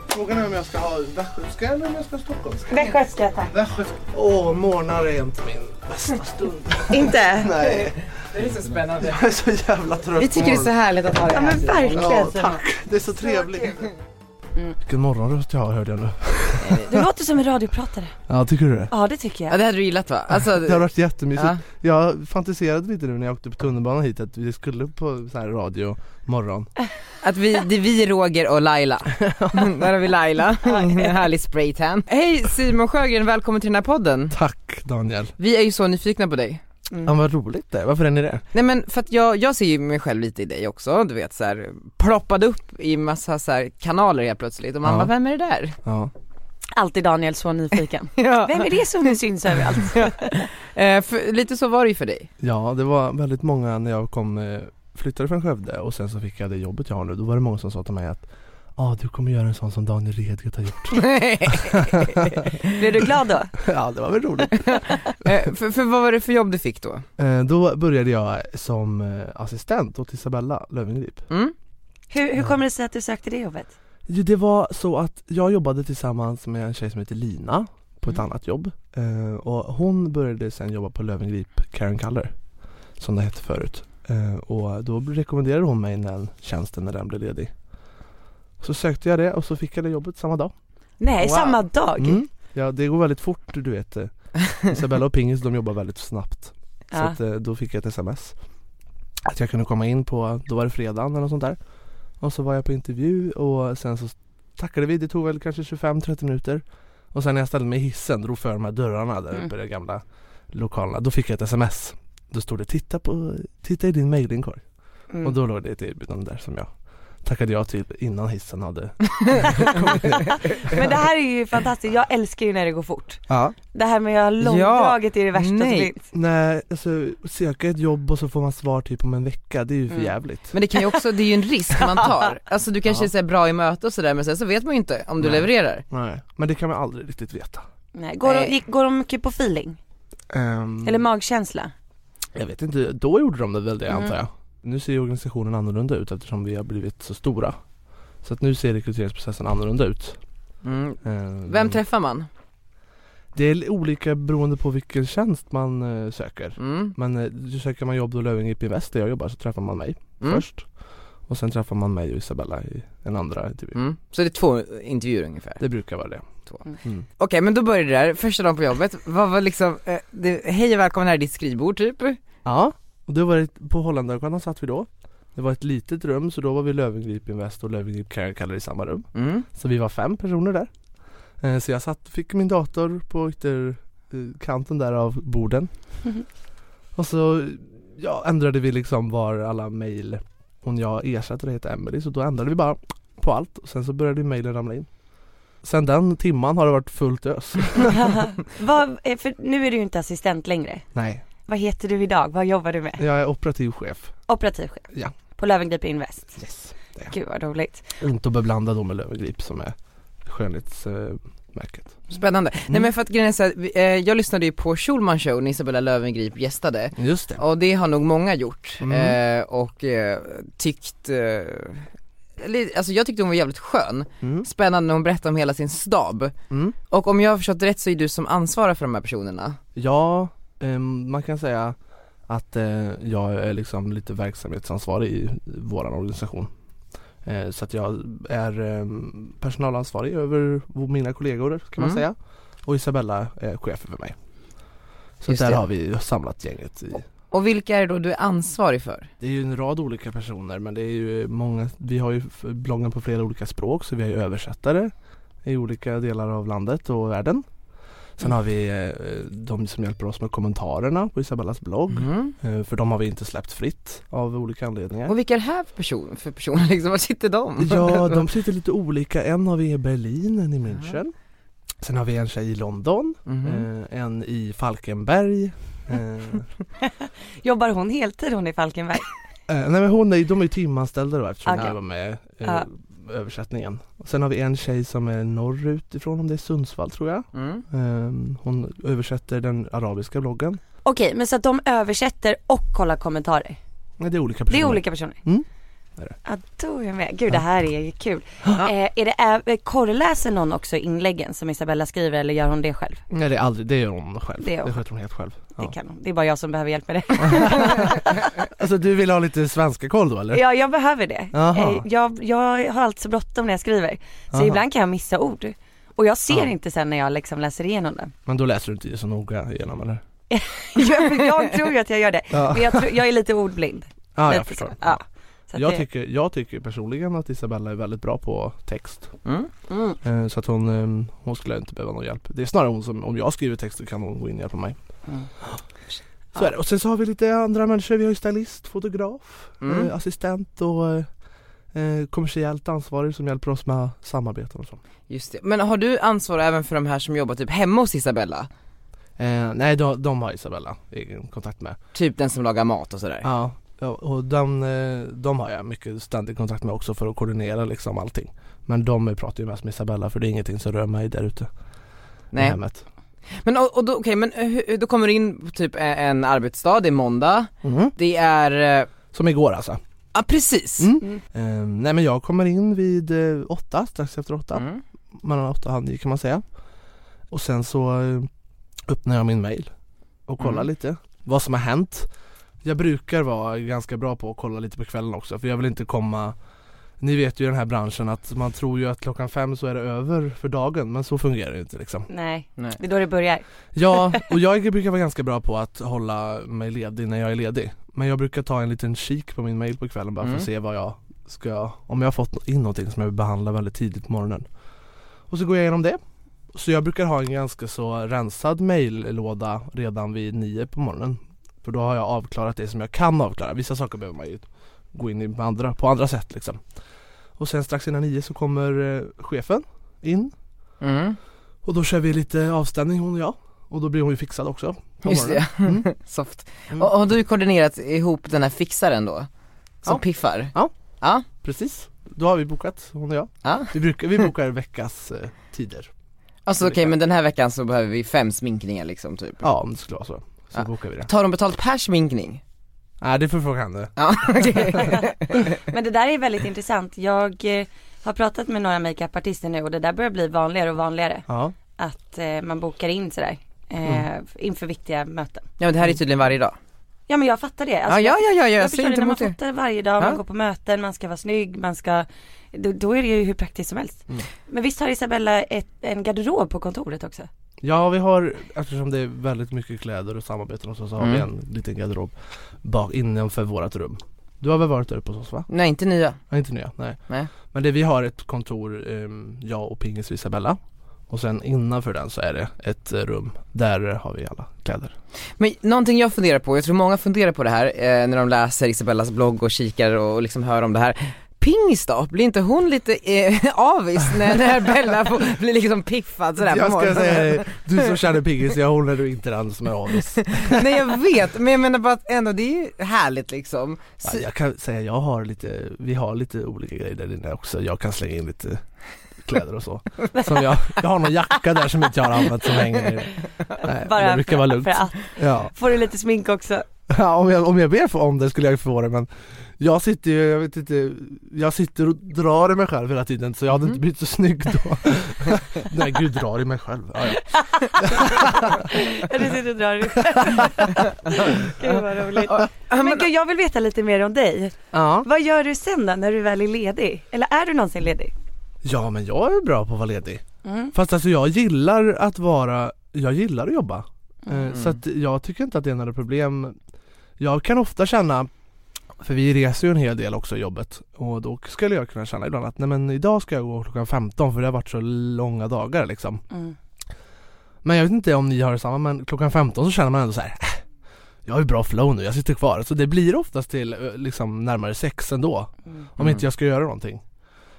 Speaker 15: Frågan är om jag ska ha västgötska eller om jag ska ha stockholmska.
Speaker 2: Västgötska tack.
Speaker 15: Åh, morgnar är inte min bästa stund.
Speaker 2: Inte?
Speaker 15: Nej.
Speaker 3: Det är så spännande.
Speaker 16: Jag är så jävla trött
Speaker 3: Vi tycker det är så härligt att ha dig
Speaker 16: Ja,
Speaker 3: här,
Speaker 16: men
Speaker 3: Simon.
Speaker 16: verkligen, Ja, Simon. tack. Det är så trevligt.
Speaker 4: Vilken morgonröst jag har hörde jag nu.
Speaker 10: Du låter som en radiopratare.
Speaker 4: Ja, tycker du det?
Speaker 10: Ja det tycker jag.
Speaker 3: Ja det hade du gillat va? Alltså,
Speaker 4: det har varit jättemysigt.
Speaker 3: Ja.
Speaker 4: Jag fantiserade lite nu när jag åkte på tunnelbanan hit att vi skulle på så här radio morgon.
Speaker 3: Att vi, det är vi Roger och Laila. Där har vi Laila, en härlig spraytan. Hej Simon Sjögren, välkommen till den här podden.
Speaker 4: Tack Daniel.
Speaker 3: Vi är ju så nyfikna på dig.
Speaker 4: Ja, vad roligt det är. Varför är ni det?
Speaker 3: Nej men för att jag, jag ser ju mig själv lite i dig också, du vet såhär, ploppad upp i massa så här kanaler helt plötsligt och man
Speaker 4: Ja.
Speaker 3: bara, vem är det där?
Speaker 4: Ja.
Speaker 10: Alltid Daniel så nyfiken. Vem är det som nu syns överallt?
Speaker 3: Eh, för, lite så var det ju för dig.
Speaker 4: Ja, det var väldigt många när jag kom, eh, flyttade från Skövde och sen så fick jag det jobbet jag har nu. Då var det många som sa till mig att Ja, ah, du kommer göra en sån som Daniel Redgert har gjort.
Speaker 10: Blev du glad då?
Speaker 4: ja, det var väl roligt.
Speaker 3: Eh, för, för vad var det för jobb du fick då?
Speaker 4: Eh, Då började jag som eh, assistent åt Isabella Löwengrip.
Speaker 10: Hur, hur kommer det sig att du sökte det jobbet?
Speaker 4: Jo, det var så att jag jobbade tillsammans med en tjej som heter Lina på ett annat jobb eh, och hon började sen jobba på Lövengrip Karen Color som det hette förut eh, och då rekommenderade hon mig den tjänsten när den blev ledig. Så sökte jag det och så fick jag det jobbet samma dag.
Speaker 10: Nej,
Speaker 4: Wow.
Speaker 10: samma dag?
Speaker 4: Mm. Ja, det går väldigt fort du vet. eh. Isabella och Pingis de jobbar väldigt snabbt. Så
Speaker 10: Ja.
Speaker 4: att, eh, då fick jag ett sms. Att jag kunde komma in på, då var det fredagen eller något sånt där. Och så var jag på intervju och sen så tackade vi, det tog väl kanske 25-30 minuter. Och sen när jag ställde mig i hissen, drog för de här dörrarna där
Speaker 3: Mm.
Speaker 4: uppe i de gamla lokalerna, då fick jag ett sms. Då stod det titta, på, titta i din mejlinkorg.
Speaker 3: Mm.
Speaker 4: Och då låg det ett erbjudande där som jag tackade jag till innan hissen hade
Speaker 10: Men det här är ju fantastiskt, jag älskar ju när det går fort.
Speaker 4: ja.
Speaker 10: Det här med att ha långdraget är det värsta som
Speaker 4: Nej.
Speaker 10: finns.
Speaker 4: Nej, alltså söka ett jobb och så får man svar typ om en vecka, det är ju för
Speaker 3: Mm.
Speaker 4: jävligt.
Speaker 3: Men det kan ju också, det är ju en risk man tar. Alltså du kanske
Speaker 4: Ja.
Speaker 3: är så här bra i möte och sådär men sen så vet man ju inte om du
Speaker 4: Nej.
Speaker 3: levererar. Eh,
Speaker 4: Nej, men det kan man aldrig riktigt veta.
Speaker 10: Nej, går,
Speaker 3: Nej.
Speaker 10: De, gick- går de mycket på feeling?
Speaker 4: Ehm,
Speaker 10: Eller magkänsla?
Speaker 4: Jag vet inte, då gjorde de det väl det
Speaker 10: Mm.
Speaker 4: antar jag. Nu ser ju organisationen annorlunda ut eftersom vi har blivit så stora. Så att nu ser rekryteringsprocessen annorlunda ut.
Speaker 3: Mm.
Speaker 4: Ehm,
Speaker 3: Vem träffar man?
Speaker 4: Det är olika beroende på vilken tjänst man eh, söker.
Speaker 3: Mm.
Speaker 4: Men eh, söker man jobb då Löwengrip Invest där jag jobbar så träffar man mig
Speaker 3: Mm.
Speaker 4: först. Och sen träffar man mig och Isabella i en andra intervju.
Speaker 3: Mm. Så det är två intervjuer ungefär?
Speaker 4: Det brukar vara det.
Speaker 3: Två.
Speaker 10: Mm.
Speaker 4: Mm.
Speaker 3: Okej men då började det där, första dagen på jobbet, vad var liksom, eh, det, hej och välkommen här är ditt skrivbord typ?
Speaker 4: Ja, och det var ett, på Holländargatan satt vi då Det var ett litet rum så då var vi Löwengrip Invest och Löwengrip Care Color i samma rum
Speaker 3: Mm.
Speaker 4: Så vi var fem personer där Eh, Så jag satt, fick min dator på ytterkanten där av borden Och så ja, ändrade vi liksom var alla mejl Hon jag ersatte det hette Emily så då ändrade vi bara på allt och sen så började mejlen ramla in Sen den timman har det varit fullt ös
Speaker 10: Vad, eh, för nu är du ju inte assistent längre.
Speaker 4: Nej,
Speaker 10: Vad heter du idag? Vad jobbar du med?
Speaker 4: jag är operativ chef
Speaker 10: Operativchef?
Speaker 4: Ja.
Speaker 10: På Löwengrip Invest?
Speaker 4: Yes.
Speaker 10: Gud vad roligt.
Speaker 4: Inte att beblanda då med Löwengrip som är skönhetsmärket
Speaker 3: Spännande. Nej men för att grejen är så här, vi- eh, jag lyssnade ju på Schulman show när Isabella Löwengrip gästade
Speaker 4: Just det.
Speaker 3: och det har nog många gjort
Speaker 4: Mm.
Speaker 3: eh, och eh, tyckt, eh, eller, alltså jag tyckte hon var jävligt skön,
Speaker 4: Mm.
Speaker 3: spännande när hon berättade om hela sin stab
Speaker 4: Mm.
Speaker 3: och om jag har förstått rätt så är du som ansvarar för de här personerna.
Speaker 4: Ja, ehm, man kan säga att eh, jag är liksom lite verksamhetsansvarig i våran organisation. Eh, så att jag är ehm, personalansvarig över mina kollegor kan man
Speaker 3: Mm.
Speaker 4: säga. Och Isabella är chef över mig. Så
Speaker 3: Just
Speaker 4: där
Speaker 3: det.
Speaker 4: har vi samlat gänget i
Speaker 3: Och vilka är det då du är ansvarig för?
Speaker 4: Det är ju en rad olika personer men det är ju många, vi har ju f- bloggen på flera olika språk så vi har ju översättare i olika delar av landet och världen. Sen har vi eh, de som hjälper oss med kommentarerna på Isabellas blogg
Speaker 3: Mhm.
Speaker 4: eh, för de har vi inte släppt fritt av olika anledningar.
Speaker 3: Och vilka är det här för, person, för personer liksom, var sitter de?
Speaker 4: Ja, de sitter lite olika. En har vi i Berlin, en i München. Sen har vi en tjej i London,
Speaker 3: Mhm.
Speaker 4: eh, en i Falkenberg. Eh,
Speaker 10: Jobbar hon heltid hon i Falkenberg?
Speaker 4: Eh, nej men hon är, de är ju timanställda då eftersom
Speaker 10: Okej.
Speaker 4: jag var med eh,
Speaker 10: Ja.
Speaker 4: översättningen. Och sen har vi en tjej som är norrut ifrån, om det är Sundsvall tror jag.
Speaker 3: Mm.
Speaker 4: Eh, hon översätter den arabiska bloggen.
Speaker 10: Okej, men så att de översätter och kollar kommentarer?
Speaker 4: Nej det är olika
Speaker 10: Det
Speaker 4: personer.
Speaker 10: är olika personer?
Speaker 4: Mm.
Speaker 10: Ja, då är jag med. Gud, det här är ju kul. Eh, är det, ä- korreläser någon också inläggen som Isabella skriver eller gör hon det själv?
Speaker 4: Nej det är aldrig, det gör hon själv.
Speaker 10: Det
Speaker 4: Det,
Speaker 10: gör hon.
Speaker 4: sköter hon helt själv. Ja.
Speaker 10: Det kan hon. Det är bara jag som behöver hjälp med det.
Speaker 4: Alltså du vill ha lite svenska koll då eller?
Speaker 10: ja, jag behöver det.
Speaker 4: Jaha.
Speaker 10: Eh, Jag, jag har alltid så bråttom när jag skriver. Så
Speaker 4: Aha.
Speaker 10: ibland kan jag missa ord. Och jag ser
Speaker 4: Ja.
Speaker 10: inte sen när jag liksom läser igenom det.
Speaker 4: Men då läser du inte så noga igenom eller?
Speaker 10: jag, jag tror ju att jag gör det.
Speaker 4: Ja.
Speaker 10: Men jag, tror, jag är lite ordblind.
Speaker 4: Ja,
Speaker 10: lite
Speaker 4: jag förstår.
Speaker 10: så. Ja. Så att
Speaker 4: Jag
Speaker 10: det-
Speaker 4: tycker, jag tycker personligen att Isabella är väldigt bra på text.
Speaker 10: Mm.
Speaker 4: Eh, Så att hon, eh, hon skulle inte behöva någon hjälp. Det är snarare hon som, om jag skriver texter kan hon gå in och hjälpa mig.
Speaker 10: Mm.
Speaker 4: Så är det. Och sen så har vi lite andra människor. Vi har ju stylist, fotograf,
Speaker 17: Mm.
Speaker 4: eh, assistent och eh, eh, kommersiellt ansvarig som hjälper oss med samarbeten och så.
Speaker 3: Just det. Men har du ansvar även för de här som jobbar typ hemma hos Isabella?
Speaker 4: Eh, nej, de, de har Isabella egen kontakt med.
Speaker 3: Typ den som lagar mat och sådär?
Speaker 4: Ja, ja och de, eh, de har jag mycket ständig kontakt med också för att koordinera liksom allting. Men de pratar ju mest med Isabella för det är ingenting som rör mig där ute. i
Speaker 3: Nej.
Speaker 4: hemmet.
Speaker 3: Men, och, och då, okej, men eh, hur, då kommer du in på typ en- en arbetsdag, det är måndag, det är...
Speaker 4: Mm.
Speaker 3: eh,
Speaker 4: Som igår alltså?
Speaker 3: Ja precis.
Speaker 4: Eh, nej men jag kommer in vid eh, åtta, strax efter åtta. Mellan åtta och halv nio kan man säga. Och sen så eh, öppnar jag min mail och kollar
Speaker 17: Mm.
Speaker 4: lite vad som har hänt. Jag brukar vara ganska bra på att kolla lite på kvällen också för jag vill inte komma ni vet ju i den här branschen att man tror ju att klockan fem så är det över för dagen men så fungerar det ju inte liksom.
Speaker 10: Nej.
Speaker 3: Nej.
Speaker 10: det är då det börjar.
Speaker 4: Ja, och jag brukar vara ganska bra på att hålla mig ledig när jag är ledig. Men jag brukar ta en liten kik på min mail på kvällen bara för
Speaker 17: Mm.
Speaker 4: att se vad jag ska, om jag har fått in någonting som jag vill behandla väldigt tidigt på morgonen. Och så går jag igenom det. Så jag brukar ha en ganska så rensad maillåda redan vid nio på morgonen. För då har jag avklarat det som jag kan avklara. Vissa saker behöver man ju gå in i på andra, på andra sätt liksom. Och sen strax innan nio så kommer eh, chefen in.
Speaker 3: Mm.
Speaker 4: Och då kör vi lite avstämning hon och jag. Och då blir hon ju fixad också. på
Speaker 3: Just det,
Speaker 4: morgonen. Mm.
Speaker 3: soft. Och, och har du kombinerat ihop den här fixaren då? Som
Speaker 4: Ja.
Speaker 3: piffar?
Speaker 4: Ja.
Speaker 3: Ja.
Speaker 4: Precis. Då har vi bokat hon och jag.
Speaker 3: Ja.
Speaker 4: Vi, brukar, vi bokar veckas eh, tider.
Speaker 3: Alltså okej men den här veckan så behöver vi fem sminkningar liksom typ.
Speaker 4: Ja om det skulle vara så. Så bokar vi det.
Speaker 3: Tar de betalt per sminkning?
Speaker 4: Nej det får fråga henne.
Speaker 3: Ja
Speaker 10: Men det där är väldigt intressant. Jag eh, har pratat med några makeupartister nu och det där börjar bli vanligare och vanligare.
Speaker 4: Ja.
Speaker 10: Att eh, man bokar in sådär eh,
Speaker 3: Mm.
Speaker 10: inför viktiga möten.
Speaker 3: men det här är
Speaker 4: Mm.
Speaker 3: tydligen varje dag.
Speaker 10: Ja men jag fattar det. Alltså,
Speaker 3: Ja, ja, ja, ja, jag
Speaker 10: jag
Speaker 3: ser
Speaker 10: förstår
Speaker 3: inte
Speaker 10: det när man
Speaker 3: emot det.
Speaker 10: fotar varje dag, man
Speaker 3: Ja.
Speaker 10: går på möten, man ska vara snygg, man ska då, då är det ju hur praktiskt som helst.
Speaker 3: Mm.
Speaker 10: Men visst har Isabella ett, en garderob på kontoret också?
Speaker 4: Ja vi har, eftersom det är väldigt mycket kläder och samarbeten och så, så har vi
Speaker 3: Mm.
Speaker 4: en liten garderob bak innanför vårat rum. Du har väl varit där uppe hos oss va?
Speaker 3: Nej inte nya.
Speaker 4: Nej, inte nya, nej.
Speaker 3: Nej.
Speaker 4: Men det, vi har ett kontor, ehm, jag och Pingis och Isabella. Och sen innanför den så är det ett eh, rum, där har vi alla kläder.
Speaker 3: Men någonting jag funderar på, jag tror många funderar på det här eh, när de läser Isabellas blogg och kikar och, och liksom hör om det här. Pingis då, blir inte hon lite eh, avis när, när Bella får, blir liksom piffad sådär på
Speaker 4: jag ska
Speaker 3: morgonen?
Speaker 4: säga det, du som känner Pingis, jag håller du inte den som är avis.
Speaker 3: Nej jag vet, men jag menar bara att ändå det är ju härligt liksom.
Speaker 4: Ja,
Speaker 3: Så,
Speaker 4: jag kan säga jag har lite, vi har lite olika grejer där inne också. Jag kan slänga in lite kläder och så. Som jag, jag har någon jacka där som inte jag har använt som hänger ner. Nej,
Speaker 10: Bara
Speaker 4: det brukar
Speaker 10: för-
Speaker 4: vara lugnt.
Speaker 10: för att.
Speaker 4: Ja.
Speaker 10: Får du lite smink också?
Speaker 4: Ja, om, jag, om jag ber för om det skulle jag få det men jag sitter ju, jag vet inte, jag sitter och drar i mig själv hela tiden så jag
Speaker 10: Mhm.
Speaker 4: hade inte blivit så snygg då. Nej gud drar i mig själv. Ja, ja.
Speaker 10: Ja, du sitter och drar i Gud vad roligt. Men gud, jag vill veta lite mer om dig.
Speaker 3: Ja.
Speaker 10: Vad gör du sen då när du väl är ledig? Eller är du någonsin ledig?
Speaker 4: ja men jag är bra på att vara ledig.
Speaker 10: Mm.
Speaker 4: Fast alltså jag gillar att vara, jag gillar att jobba. Eh,
Speaker 17: Mm.
Speaker 4: Så att jag tycker inte att det är några problem. Jag kan ofta känna, för vi reser ju en hel del också i jobbet och då skulle jag kunna känna ibland att nej men idag ska jag gå klockan 15 för det har varit så långa dagar liksom.
Speaker 10: Mm.
Speaker 4: Men jag vet inte om ni har det samma men klockan 15 så känner man ändå så här. "Äh, Jag har ju bra flow nu, jag sitter kvar. Så det blir oftast till eh, liksom närmare sex ändå. Om inte jag ska göra någonting.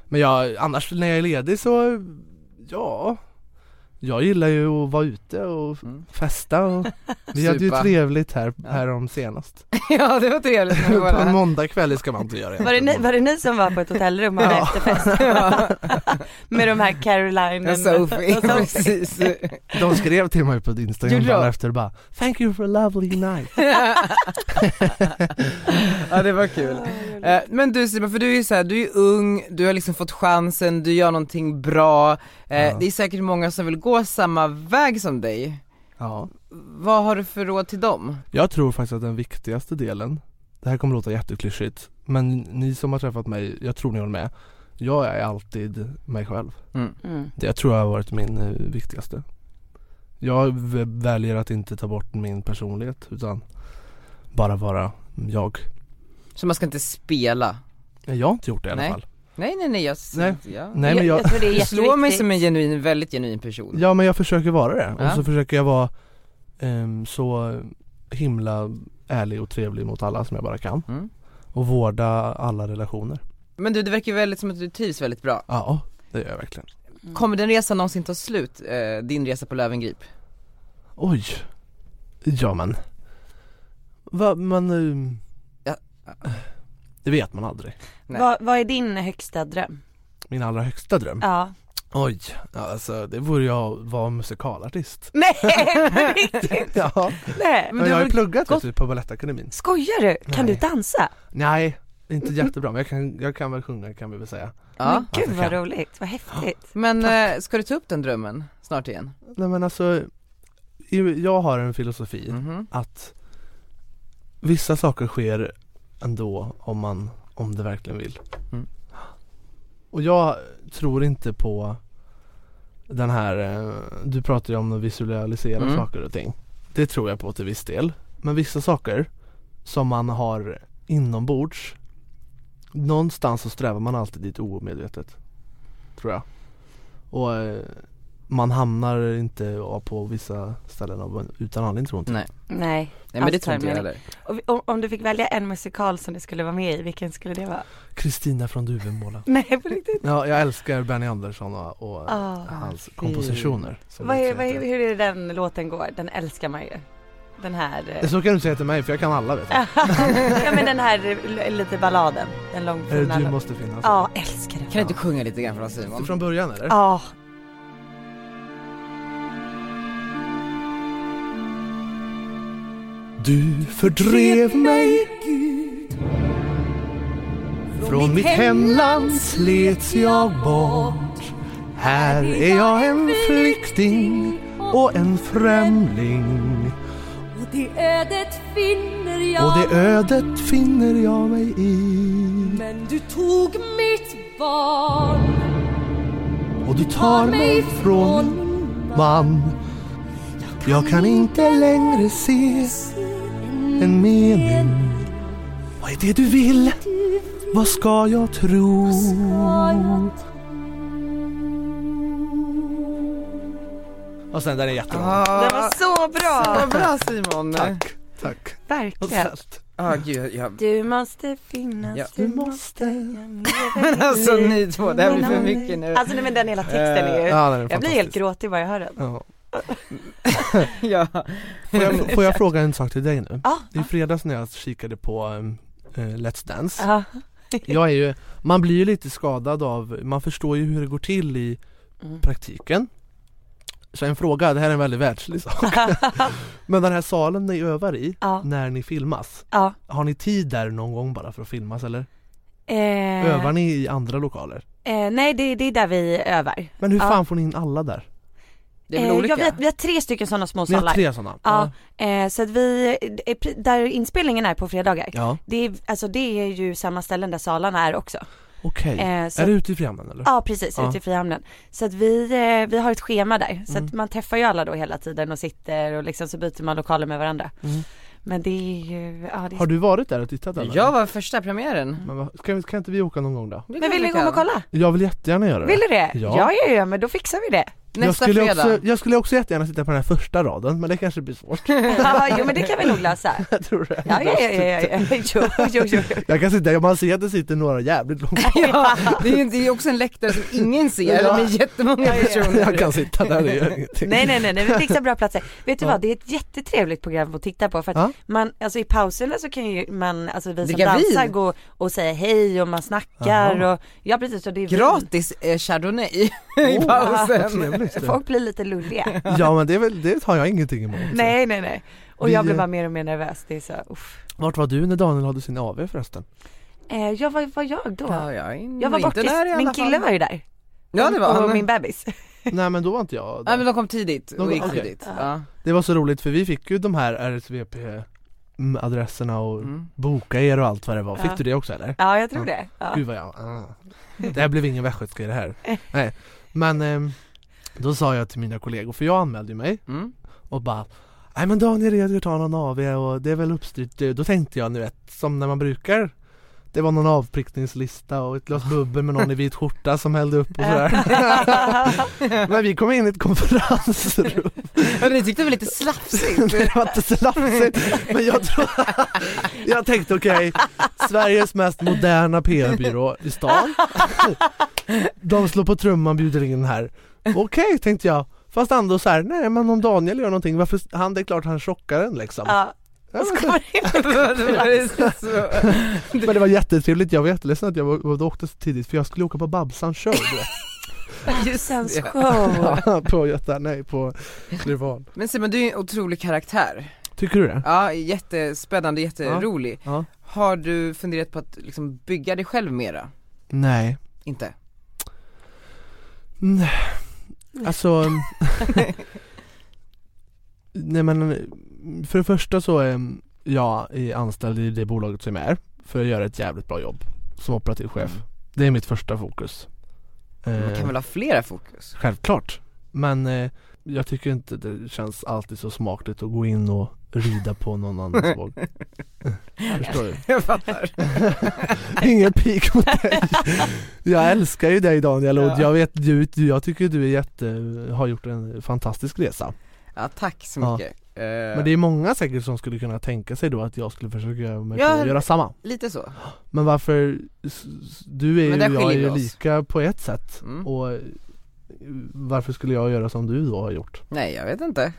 Speaker 4: Men jag, annars när jag är ledig så, ja. Jag gillar ju att vara ute och festa och vi hade ju
Speaker 3: Supa.
Speaker 4: trevligt här, härom senast.
Speaker 3: ja det var trevligt. när vi var
Speaker 4: På en
Speaker 3: där.
Speaker 4: måndagkväll ska man inte göra
Speaker 10: Var det, ni, var det ni som var på ett hotellrum och hade efterfest?
Speaker 2: med de här Caroline
Speaker 4: Och Sophie, precis. De skrev till mig på Instagram
Speaker 11: Gjorde de?
Speaker 4: dagen efter bara Thank you for a lovely night
Speaker 3: Ja det var kul. Eh, Men du Simon, för du är ju så här, du är ung, du har liksom fått chansen, du gör någonting bra. Eh, Det är säkert många som vill gå samma väg som dig.
Speaker 4: Ja.
Speaker 3: Vad har du för råd till dem?
Speaker 4: Jag tror faktiskt att den viktigaste delen Det här kommer låta jätteklyschigt Men ni som har träffat mig, jag tror ni håller med Jag är alltid mig själv
Speaker 3: Mm. Mm.
Speaker 4: Det tror jag har varit min eh, viktigaste Jag v- väljer att inte ta bort min personlighet utan bara vara jag
Speaker 3: Så man ska inte spela?
Speaker 4: Jag har inte gjort det i alla
Speaker 3: nej.
Speaker 4: fall
Speaker 3: Nej nej nej, jag,
Speaker 4: Nej.
Speaker 3: jag,
Speaker 4: Nej, men jag- Jag tror det är
Speaker 3: Du slår mig
Speaker 4: jätteviktigt.
Speaker 3: som en genuin, väldigt genuin person.
Speaker 4: Ja men jag försöker vara det
Speaker 3: Ja.
Speaker 4: och så försöker jag vara ehm, så himla ärlig och trevlig mot alla som jag bara kan och vårda alla relationer.
Speaker 3: Men du, det verkar ju väldigt som att du trivs väldigt bra.
Speaker 4: Ja, det gör jag verkligen.
Speaker 2: Mm.
Speaker 3: Kommer den resan någonsin ta slut, eh, din resa på Lövengrip?
Speaker 4: Oj! Ja men. Va, man... ehm, Det vet man aldrig.
Speaker 2: Vad, vad är din högsta dröm?
Speaker 4: Min allra högsta dröm?
Speaker 2: Ja.
Speaker 4: Oj, alltså det vore jag att vara musikalartist.
Speaker 2: Nej, på riktigt?
Speaker 4: ja.
Speaker 2: Nej.
Speaker 4: Men jag har ju pluggat vet du, på Balettakademin.
Speaker 2: Skojar du? Kan du dansa?
Speaker 4: Nej, inte jättebra men jag kan, jag kan väl sjunga kan vi väl säga.
Speaker 2: Men
Speaker 4: Att
Speaker 2: gud
Speaker 4: jag
Speaker 2: vad
Speaker 4: kan.
Speaker 2: roligt, vad häftigt.
Speaker 3: Men eh, ska du ta upp den drömmen snart igen?
Speaker 4: Nej men alltså, i- jag har en filosofi
Speaker 2: Mm.
Speaker 3: Mhm.
Speaker 4: att vissa saker sker ändå om man, om det verkligen vill. Och jag tror inte på den här, eh, du pratar ju om att visualisera
Speaker 15: Mm.
Speaker 4: saker och ting. Det tror jag på till viss del. Men vissa saker som man har inombords, någonstans så strävar man alltid dit oomedvetet. Tror jag. Och eh, man hamnar inte på vissa ställen av- utan anledning tror jag inte.
Speaker 3: Nej.
Speaker 2: Nej,
Speaker 4: men det
Speaker 2: alls
Speaker 4: tror inte jag
Speaker 2: harmoni. Och vi- Om, om du fick välja en musikal som du skulle vara med i, vilken skulle det vara?
Speaker 4: Kristina från Duvemåla.
Speaker 2: Nej på riktigt?
Speaker 4: Ja, jag älskar Benny Andersson och, och
Speaker 2: Ah,
Speaker 4: hans
Speaker 2: fint.
Speaker 4: kompositioner. Så,
Speaker 2: Vad är, vad är, hur är den låten går? Den älskar man ju. Den här, eh,
Speaker 4: så kan du säga till mig för jag kan alla vet du.
Speaker 2: ja men den här eh, l- lite balladen, den långfina.
Speaker 4: Eh, du
Speaker 2: lå-
Speaker 4: måste finnas.
Speaker 2: Ja, älskar den.
Speaker 3: Kan du inte sjunga lite grann för oss Simon?
Speaker 4: Från början eller?
Speaker 2: Ja.
Speaker 4: Du fördrev mig Från mitt hemland slets jag bort Här är jag en flykting och en främling
Speaker 10: Och det ödet finner jag
Speaker 4: Och det ödet finner jag mig i
Speaker 10: Men du tog mitt barn
Speaker 4: Och du tar mig från min man Jag kan inte längre se en mening Vad är det du vill? Vad ska jag tro? Och sen den är jättebra.
Speaker 3: Ah,
Speaker 2: Den var så bra!
Speaker 3: Så bra Simon!
Speaker 4: Tack, tack.
Speaker 2: Verkligen.
Speaker 3: Ja gud, jag...
Speaker 2: Du måste finnas,
Speaker 3: Ja.
Speaker 2: du måste
Speaker 3: Men alltså ni två, det här blir för mycket nu.
Speaker 2: Alltså nej men den hela texten är ju,
Speaker 3: Eh, ja, den är
Speaker 2: jag blir helt
Speaker 3: fantastisk.
Speaker 2: gråtig bara jag hör den.
Speaker 4: Ja.
Speaker 3: ja.
Speaker 4: Får jag, får jag fråga en sak till dig nu?
Speaker 2: Ja,
Speaker 4: I fredags när jag kikade på um, eh, Let's Dance
Speaker 2: Ja.
Speaker 4: Jag är ju, man blir ju lite skadad av, man förstår ju hur det går till i
Speaker 2: Mm.
Speaker 4: praktiken Så en fråga, det här är en väldigt världslig sak Men den här salen ni övar i,
Speaker 2: Ja.
Speaker 4: när ni filmas
Speaker 2: Ja.
Speaker 4: Har ni tid där någon gång bara för att filmas eller?
Speaker 2: Eh,
Speaker 4: Övar ni i andra lokaler?
Speaker 2: Eh, nej det, det är där vi övar.
Speaker 4: Men hur
Speaker 2: Ja.
Speaker 4: fan får ni in alla där?
Speaker 3: Det är väl olika?
Speaker 2: Eh, Jag vet, vi har tre stycken sådana små
Speaker 4: Ni har
Speaker 2: salar.
Speaker 4: tre sådana?
Speaker 2: Ja, eh, så att vi, eh, pre- där inspelningen är på fredagar,
Speaker 4: Ja.
Speaker 2: det, är, alltså det är ju samma ställen där salarna är också.
Speaker 4: Okej,
Speaker 2: Eh, så-
Speaker 4: är det ute i Frihamnen eller?
Speaker 2: Ja precis, ute i Frihamnen. Så att vi, eh, vi har ett schema där, så att
Speaker 4: Mm.
Speaker 2: man träffar ju alla då hela tiden och sitter och liksom så byter man lokaler med varandra.
Speaker 4: Mm.
Speaker 2: Men det är ju, ja det är...
Speaker 4: Har du varit där och tittat eller?
Speaker 3: Jag var första premiären.
Speaker 4: Men vad- kan, vi- kan inte vi åka någon gång då?
Speaker 2: Men vill ni gå och kolla?
Speaker 4: Jag vill jättegärna göra det
Speaker 2: Vill du det?
Speaker 4: Ja,
Speaker 2: ja, ja, ja men då fixar vi det.
Speaker 4: jag,
Speaker 3: Nästa
Speaker 4: skulle
Speaker 3: fredag.
Speaker 4: också, jag skulle också jättegärna sitta på den här första raden, men det kanske blir svårt.
Speaker 9: Ja, jo men det kan vi nog lösa.
Speaker 4: Jag tror det.
Speaker 9: Ja, ja, ja, ja, ja. Jo, jo, jo.
Speaker 4: Jag kan sitta, man ser att det sitter några jävligt långt
Speaker 18: Ja, det är ju det är ju också en läktare som ingen ser
Speaker 4: Ja.
Speaker 18: med jättemånga personer.
Speaker 4: Jag kan sitta där, det gör ingenting.
Speaker 9: Nej, nej, nej, nej, vi fixar bra platser. Vet du
Speaker 4: Ja.
Speaker 9: vad, det är ett jättetrevligt program att titta på för att
Speaker 4: Ja.
Speaker 9: man, alltså i pauserna så kan ju man, alltså vi som
Speaker 3: Dricka
Speaker 9: dansar
Speaker 3: vin.
Speaker 9: gå och säga hej och man snackar
Speaker 3: Aha.
Speaker 9: och, ja precis och det är vin.
Speaker 3: Gratis eh, chardonnay i
Speaker 9: Åh, Oh, vad
Speaker 3: pausen.
Speaker 4: trevligt.
Speaker 9: Folk blir lite lulliga.
Speaker 4: Ja men det, är väl, det har jag ingenting emot.
Speaker 9: Nej, nej, nej. Och
Speaker 4: Vi,
Speaker 9: jag blev
Speaker 4: eh,
Speaker 9: bara mer och mer nervös, det är så, uff.
Speaker 4: Vart var du när Daniel hade sin AV förresten?
Speaker 9: Eh, jag var, var jag då?
Speaker 3: Ja, jag är-
Speaker 9: jag var
Speaker 3: inte där i
Speaker 9: borta,
Speaker 3: alla
Speaker 9: min
Speaker 3: fall.
Speaker 9: kille var ju där.
Speaker 3: Ja, det var
Speaker 9: Och
Speaker 3: han.
Speaker 9: min bebis.
Speaker 4: Nej men då var inte jag
Speaker 3: Ja
Speaker 4: där.
Speaker 3: men de kom tidigt
Speaker 4: De-
Speaker 3: och gick
Speaker 4: okej.
Speaker 3: tidigt. Ja.
Speaker 4: Det var så roligt för vi fick ju de här RSVP-adresserna och
Speaker 3: Mm.
Speaker 4: boka er och allt vad det var. Fick
Speaker 9: Ja.
Speaker 4: du det också eller?
Speaker 9: Ja, jag tror det. Ja.
Speaker 4: Gud vad jag, ah. det här blev ingen västgötska i det här. Nej. Men ehm, då sa jag till mina kollegor, för jag anmälde ju mig
Speaker 18: Mm.
Speaker 4: och bara Nej men Daniel Redgert har någon AV och det är väl uppstyrt. Då tänkte jag nu vet, som när man brukar Det var någon avprickningslista och ett glas bubbel med någon i vit skjorta som hällde upp och sådär Men vi kom in i ett konferensrum
Speaker 3: Ja, ni tyckte det var lite slafsigt?
Speaker 4: Det var inte så lafsigt men jag tror Jag tänkte okej Sveriges mest moderna PR-byrå i stan De slår på trumman, bjuder in här Okej tänkte jag Fast ändå så här, nej men om Daniel gör någonting, varför, han det är klart han chockar en liksom
Speaker 9: Ja.
Speaker 4: Ja,
Speaker 9: Och så kommer det-
Speaker 4: Men det var jättetrevligt, jag var jätteledsen att jag var- var- åkte så tidigt för jag skulle åka på Babsan show du vet.
Speaker 9: Babsens
Speaker 3: det.
Speaker 9: show.
Speaker 4: Ja, På Göta, nej på Rival
Speaker 3: Men Simon du är en otrolig karaktär.
Speaker 4: Tycker du det?
Speaker 3: Ja, jättespännande, jätterolig.
Speaker 4: Ja.
Speaker 3: Har du funderat på att liksom bygga dig själv mera?
Speaker 4: Nej
Speaker 3: Inte?
Speaker 4: Nej. Alltså Nej men för det första så är jag är anställd i det bolaget som jag är för att göra ett jävligt bra jobb som operativ chef. Det är mitt första fokus.
Speaker 3: Mm. Man
Speaker 4: Eh,
Speaker 3: kan väl ha flera fokus?
Speaker 4: Självklart. Men eh, jag tycker inte det känns alltid så smakligt att gå in och rida på någon annans våg. Förstår du?
Speaker 3: Jag fattar.
Speaker 4: Ingen pik mot dig. Jag älskar ju dig Daniel och jag vet du, du, jag tycker du är jätte, har gjort en fantastisk resa.
Speaker 3: Ja, tack så
Speaker 4: Ja.
Speaker 3: mycket. Eh,
Speaker 4: Men det är många säkert som skulle kunna tänka sig då att jag skulle försöka göra mig
Speaker 3: Ja,
Speaker 4: på att göra samma.
Speaker 3: Eh, Lite så.
Speaker 4: Men varför, s- s- du är
Speaker 3: Men
Speaker 4: ju,
Speaker 3: där
Speaker 4: jag är
Speaker 3: skiljer vi
Speaker 4: ju
Speaker 3: oss.
Speaker 4: lika på ett sätt
Speaker 3: Mm.
Speaker 4: och eh, varför skulle jag göra som du då har gjort?
Speaker 3: Nej jag vet inte.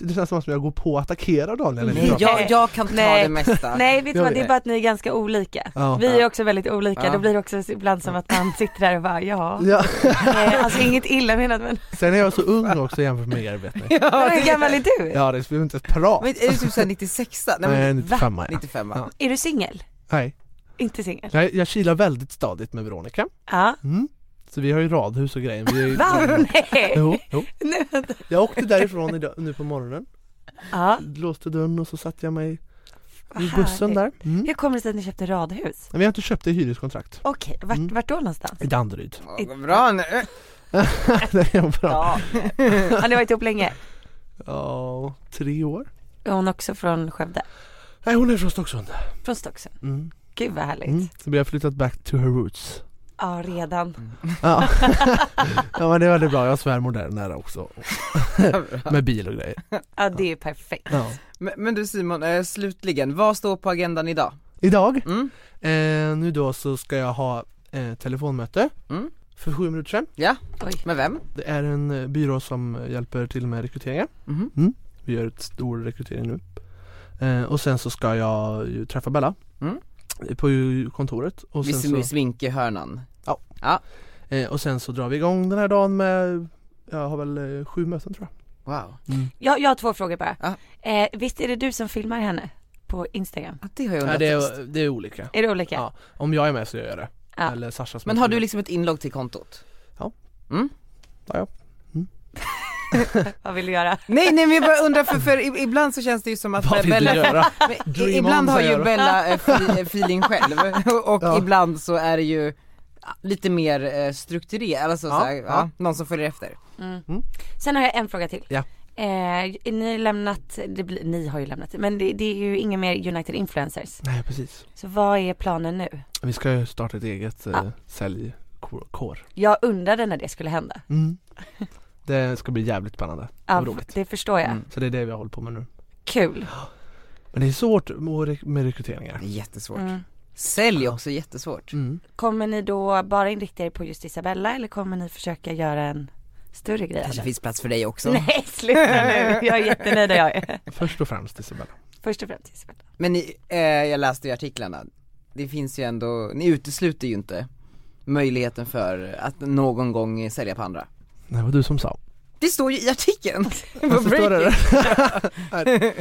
Speaker 4: Det känns som att jag går på att attackera Daniel lite
Speaker 3: Nej,
Speaker 4: grann.
Speaker 3: jag, jag kan ta
Speaker 9: Nej.
Speaker 3: det mesta.
Speaker 9: Nej, vet du
Speaker 4: Jag
Speaker 9: vad, det är
Speaker 4: vet.
Speaker 9: bara att ni är ganska olika.
Speaker 4: Ja.
Speaker 9: Vi är också väldigt olika,
Speaker 3: Ja.
Speaker 9: då blir det också ibland som att man sitter där och bara ja.
Speaker 4: Ja.
Speaker 9: Eh, Alltså inget illa menat men,
Speaker 4: Sen är jag så ung också jämfört med er vet ni.
Speaker 9: men hur gammal är du?
Speaker 4: Ja det skulle vi inte ens prata.
Speaker 3: Men är du typ såhär 96 Nej,
Speaker 4: Nej,
Speaker 3: men,
Speaker 4: 95
Speaker 3: va?
Speaker 4: ja.
Speaker 3: 95
Speaker 4: Ja.
Speaker 9: Är du singel?
Speaker 4: Nej,
Speaker 9: Inte singel?
Speaker 4: jag, jag kilar väldigt stadigt med Veronica.
Speaker 9: Ja.
Speaker 4: Mm. Så vi har ju radhus och grejer. Vi är ju... Mm.
Speaker 9: Va? Nej!
Speaker 4: Jo, jo.
Speaker 9: Nej, vänta.
Speaker 4: Jag åkte därifrån idag, nu på morgonen,
Speaker 9: Ja.
Speaker 4: låste dörren och så satte jag mig
Speaker 9: vad
Speaker 4: i bussen
Speaker 9: härligt.
Speaker 4: där. Mm. Nej,
Speaker 9: Hur kommer det sig att ni köpte radhus?
Speaker 4: Men jag har inte köpt det i hyreskontrakt.
Speaker 9: Okej, vart,
Speaker 4: Mm.
Speaker 9: vart då någonstans?
Speaker 4: I Danderyd.
Speaker 3: Ja, vad bra eh, nu.
Speaker 4: det är bra.
Speaker 9: Ja. Har ni varit ihop länge?
Speaker 4: Ja, tre år.
Speaker 9: Är hon också från Skövde?
Speaker 4: Nej hon är från Stocksund.
Speaker 9: Från Stocksund?
Speaker 4: Mm.
Speaker 9: Gud vad härligt.
Speaker 4: Mm. Så vi har flyttat back to her roots.
Speaker 9: Ja, redan.
Speaker 4: Ja. ja men det var det bra, jag har svärmor där nära också. med bil och grejer.
Speaker 9: Ja, det är perfekt.
Speaker 4: Ja.
Speaker 3: Men, men du Simon, eh, slutligen, vad står på agendan idag?
Speaker 4: Idag,
Speaker 3: Mm.
Speaker 4: eh, nu då så ska jag ha eh, telefonmöte
Speaker 3: Mm.
Speaker 4: för sju minuter sedan.
Speaker 3: Ja,
Speaker 9: Oj.
Speaker 3: med vem?
Speaker 4: Det är en eh, byrå som eh, hjälper till med rekryteringar. Mm.
Speaker 3: Mhm.
Speaker 4: Vi gör ett stor rekrytering nu. Eh, och sen så ska jag ju träffa Bella
Speaker 3: Mm.
Speaker 4: på ju kontoret. Och
Speaker 3: Vid
Speaker 4: sen,
Speaker 3: så...
Speaker 4: så,
Speaker 3: sminkehörnan.
Speaker 4: eh, och sen så drar vi igång den här dagen med, jag har väl eh, sju möten tror jag.
Speaker 3: Wow.
Speaker 9: Jag, jag har två frågor bara.
Speaker 3: Ja.
Speaker 9: Eh, visst är det du som filmar henne på Instagram?
Speaker 3: Ja, det har jag
Speaker 4: Nej,
Speaker 3: undrat
Speaker 4: det,
Speaker 3: också.
Speaker 4: är, det är olika.
Speaker 9: Är det olika?
Speaker 4: Ja. Om jag är med så gör jag det.
Speaker 9: Ja.
Speaker 4: Eller Sasha som
Speaker 3: Men
Speaker 4: är
Speaker 3: har
Speaker 4: med.
Speaker 3: du liksom ett inlogg till kontot?
Speaker 4: Ja.
Speaker 3: Mm.
Speaker 4: Ja, ja. Mm.
Speaker 9: Vad vill du göra?
Speaker 3: Nej nej men jag bara undrar för, för i- ibland så känns det ju som att
Speaker 4: Vad
Speaker 3: när
Speaker 4: vill du göra?
Speaker 3: Men
Speaker 4: Dream
Speaker 3: ibland
Speaker 4: on,
Speaker 3: har
Speaker 4: säger
Speaker 3: ju
Speaker 4: du.
Speaker 3: Bella eh, fi- eh, feeling själv och
Speaker 4: Ja.
Speaker 3: ibland så är det ju ah, lite mer eh, strukturerat, alltså
Speaker 4: Ja,
Speaker 3: så här, ja.
Speaker 4: ja.
Speaker 3: någon som följer efter.
Speaker 9: Sen har jag en fråga till.
Speaker 4: Ja.
Speaker 9: Eh, ni, har lämnat, det blir, ni har ju lämnat, men det, det är ju inga mer United Influencers.
Speaker 4: Nej precis.
Speaker 9: Så vad är planen nu?
Speaker 4: Vi ska ju starta ett eget eh,
Speaker 9: Ja.
Speaker 4: säljkår.
Speaker 9: Jag undrade när det skulle hända.
Speaker 4: Mm. Det ska bli jävligt spännande
Speaker 2: Ja,
Speaker 4: och roligt. Mm.
Speaker 2: det förstår jag.
Speaker 4: Så det är det vi håller på med nu.
Speaker 2: Kul.
Speaker 4: Men det är svårt med rek- med rekryteringar.
Speaker 3: Jättesvårt.
Speaker 2: Mm.
Speaker 3: Sälj också jättesvårt.
Speaker 2: Kommer ni då bara inrikta er på just Isabella eller kommer ni försöka göra en större grej?
Speaker 3: Kanske
Speaker 2: av det?
Speaker 3: finns plats för dig också.
Speaker 2: Nej, sluta nu. Jag är jättenöjd där jag är.
Speaker 4: Först och främst Isabella.
Speaker 2: Först och främst Isabella.
Speaker 3: Men ni, eh, jag läste ju artiklarna, det finns ju ändå, ni utesluter ju inte möjligheten för att någon gång sälja på andra.
Speaker 4: Det var du som sa.
Speaker 3: Det står ju i artikeln!
Speaker 4: Varför står det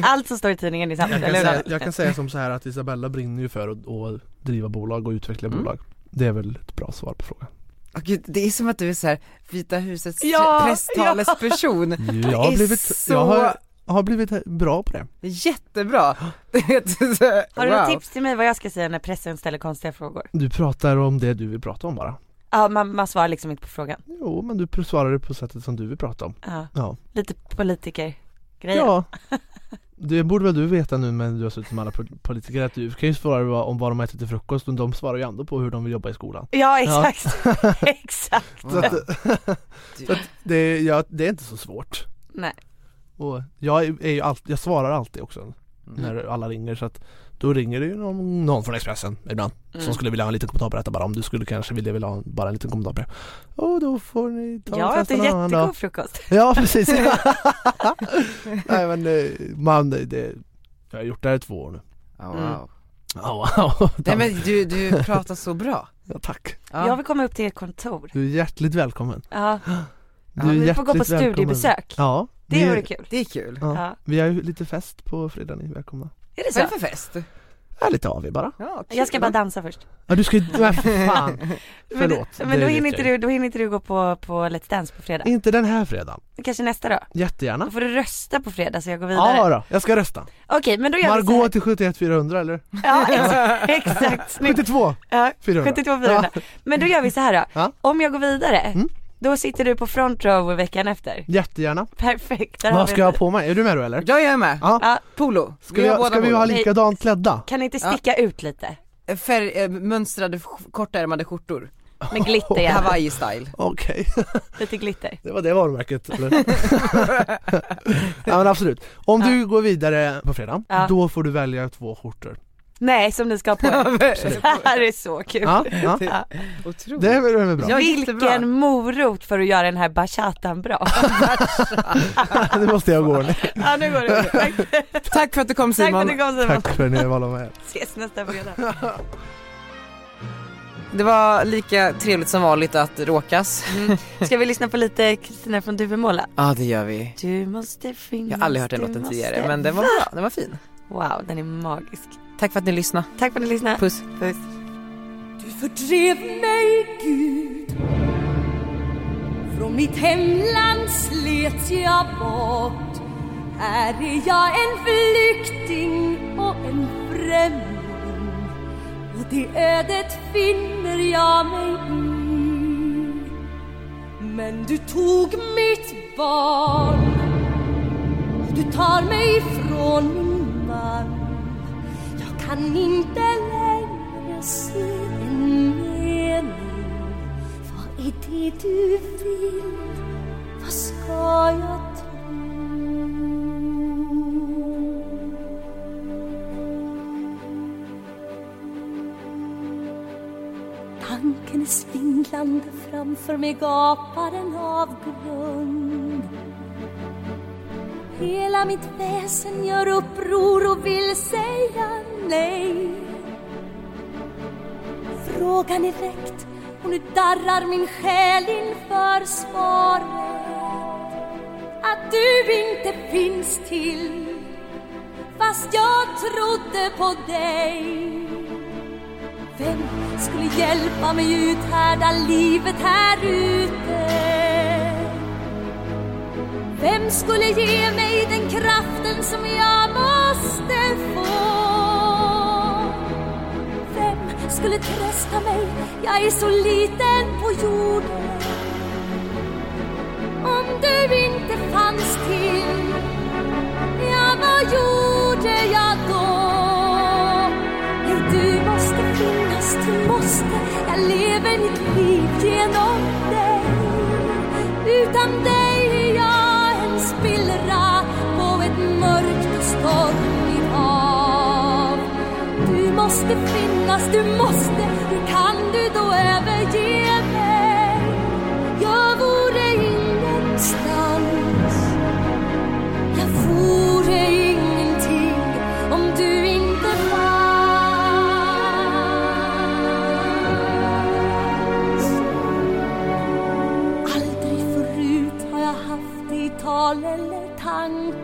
Speaker 2: Allt som står i tidningen är sant,
Speaker 4: Jag kan,
Speaker 2: eller
Speaker 4: säga,
Speaker 2: hur?
Speaker 4: jag kan säga som så här att Isabella brinner ju för att, att driva bolag och utveckla bolag. Det är väl ett bra svar på frågan.
Speaker 3: Åh gud, det är som att du är så här Vita husets
Speaker 2: Ja,
Speaker 3: presstalesperson.
Speaker 4: Jag har
Speaker 3: Det är
Speaker 4: blivit,
Speaker 3: så
Speaker 4: jag har, har blivit bra på det.
Speaker 3: jättebra.
Speaker 2: Har du några
Speaker 3: Wow.
Speaker 2: tips till mig vad jag ska säga när pressen ställer konstiga frågor?
Speaker 4: Du pratar om det du vill prata om bara.
Speaker 2: Ja, man, man svarar liksom inte på frågan.
Speaker 4: Jo, men du svarar det på sättet som du vill prata om.
Speaker 2: Ja.
Speaker 4: Ja.
Speaker 2: Lite politiker
Speaker 4: Ja. Det borde väl du veta nu när du har suttit med alla po- politiker att du kan ju svara vad- om vad de äter till frukost men de svarar ju ändå på hur de vill jobba i skolan.
Speaker 2: Ja, exakt. exakt.
Speaker 4: Så att, så att det, ja, det är inte så svårt.
Speaker 2: Nej.
Speaker 4: Och jag, är är ju alltid, jag svarar alltid också när
Speaker 2: Mm.
Speaker 4: alla ringer så att då ringer det ju någon, någon från Expressen ibland
Speaker 2: Mm.
Speaker 4: som skulle vilja ha en liten kommentar på detta bara om du skulle kanske vilja, vilja ha en- bara en liten kommentar på det. Och då får ni ta och
Speaker 2: Jag
Speaker 4: testa
Speaker 2: äter
Speaker 4: någon annan dag.
Speaker 2: jättegod frukost.
Speaker 4: Ja precis. Nej men eh, man, det, jag har gjort det här i två år nu.
Speaker 3: wow. Mm.
Speaker 4: Ja, wow.
Speaker 3: Nej men du, du pratar så bra.
Speaker 4: Ja, tack.
Speaker 2: Jag vill komma upp till ert kontor.
Speaker 4: Du är hjärtligt välkommen.
Speaker 2: Ja.
Speaker 4: Du
Speaker 2: Ja,
Speaker 4: är
Speaker 2: vi får gå på
Speaker 4: hjärtligt välkommen.
Speaker 2: studiebesök.
Speaker 4: Ja.
Speaker 2: Det
Speaker 4: ni-
Speaker 2: vore kul.
Speaker 3: Det är kul.
Speaker 4: Ja.
Speaker 2: Ja.
Speaker 4: Vi har ju lite fest på fredag, ni är välkomna.
Speaker 2: Är det så?
Speaker 3: Vad är det för fest?
Speaker 4: Ja, lite av er bara.
Speaker 3: Ja,
Speaker 2: Jag ska bara dansa först.
Speaker 4: Ja du ska ju, nej för fan. Förlåt.
Speaker 2: Men, men då,
Speaker 4: det
Speaker 2: hinner
Speaker 4: vet
Speaker 2: inte
Speaker 4: jag
Speaker 2: du,
Speaker 4: ju.
Speaker 2: då hinner inte du gå på, på Let's Dance på fredag.
Speaker 4: Inte den här fredagen.
Speaker 2: Kanske nästa då?
Speaker 4: Jättegärna.
Speaker 2: Då får du rösta på
Speaker 9: alltså
Speaker 2: fredag så jag går vidare.
Speaker 4: Ja då, jag ska rösta.
Speaker 2: Okej, men då gör vi så här.
Speaker 4: Margot till 71 400 eller?
Speaker 2: Ja, ex- exakt. Snyggt.
Speaker 4: 72
Speaker 2: Ja,
Speaker 4: 400.
Speaker 2: 72 400. Men då gör vi så här då.
Speaker 4: Ja.
Speaker 2: Om jag går vidare, då sitter du på front row veckan efter.
Speaker 4: Jättegärna.
Speaker 2: Perfekt. där har
Speaker 4: Vad
Speaker 2: vi
Speaker 4: ska
Speaker 2: det.
Speaker 4: jag ha på mig? Är du med då eller?
Speaker 3: Jag är med.
Speaker 4: Ja.
Speaker 3: Polo.
Speaker 4: Ska vi, ha- ska vi ha likadant klädda?
Speaker 2: Kan ni inte sticka ut lite?
Speaker 3: Färg, eh, mönstrade sk- kortärmade skjortor.
Speaker 2: Med glitter gärna.
Speaker 3: Hawaii style.
Speaker 4: Okej,
Speaker 2: Lite glitter.
Speaker 4: det var det varumärket eller? ja men absolut. Om du går vidare på fredag,
Speaker 2: Ja.
Speaker 4: då får du välja två skjortor.
Speaker 2: Nej, som ni ska ha på er.
Speaker 4: Absolut.
Speaker 2: Det här är så kul.
Speaker 4: Ja, ja.
Speaker 2: Ja.
Speaker 3: Otroligt.
Speaker 4: Det är väl det är väl bra?
Speaker 2: Vilken morot för att göra den här bachatan bra.
Speaker 4: nu måste jag gå.
Speaker 2: ja, nu går det. Tack,
Speaker 3: Tack för att du kom
Speaker 2: tack för
Speaker 3: Simon.
Speaker 2: att du kom Simon.
Speaker 4: Tack för att ni valde med.
Speaker 2: Ses nästa fredag.
Speaker 3: Det var lika trevligt som vanligt att råkas.
Speaker 2: Ska vi lyssna på lite Kristina från Duvemåla?
Speaker 3: Ja det gör vi.
Speaker 2: Du måste finnas,
Speaker 3: Jag har aldrig hört den
Speaker 2: du
Speaker 3: låten
Speaker 2: måste-
Speaker 3: tidigare men den var
Speaker 2: Va?
Speaker 3: bra, den var fin.
Speaker 2: Wow, den är magisk.
Speaker 3: Tack för att ni lyssnade.
Speaker 2: Tack för att ni lyssnade.
Speaker 3: Puss.
Speaker 2: Puss.
Speaker 10: Du fördrev mig Gud Från mitt hemland slet jag bort Här är jag en flykting och en främling Och det ödet finner jag mig i Men du tog mitt barn och Du tar mig ifrån min man Jag kan inte längre se en mening Vad är det du vill? Vad ska jag tro? Tanken är svindlande, framför mig gapar en avgrund Hela mitt väsen gör uppror och vill säga nej Frågan är väckt och nu darrar min själ inför svaret Att du inte finns till fast jag trodde på dig Vem skulle hjälpa mig uthärda livet här ute? Vem skulle ge mig den kraften som jag måste få? Vem skulle trösta mig? Jag är så liten på jorden. Om du inte fanns till, ja vad gjorde jag då? Nej, du måste finnas, du måste. Jag lever mitt liv genom dig. Utan dig måste finnas, du måste. Hur kan du då överge mig? Jag vore ingenstans. Jag vore ingenting om du inte fanns. Aldrig förut har jag haft dig i tal eller tanke.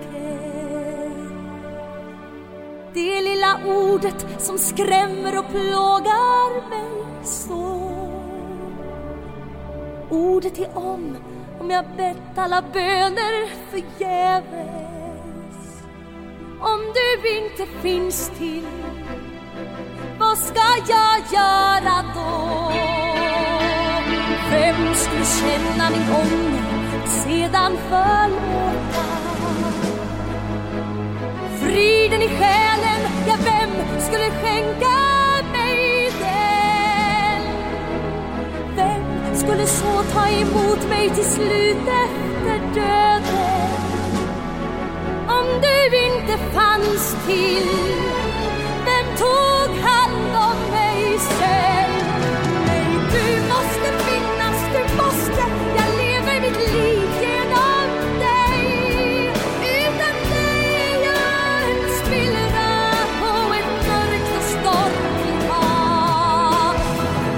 Speaker 10: Det lilla ordet som skrämmer och plågar mig så. Ordet är om, om jag bett alla böner förgäves. Om du inte finns till, vad ska jag göra då? Vem skulle känna min ånger sedan förlåta? Friden i själen, ja vem skulle skänka mig den? Vem skulle så ta emot mig till slut efter döden? Om du inte fanns till, vem tog hand om mig sen? Nej, du måste finnas, du måste, jag lever mitt liv genom dig. Utan dig är jag en spillra på ett mörkt och stormigt hav.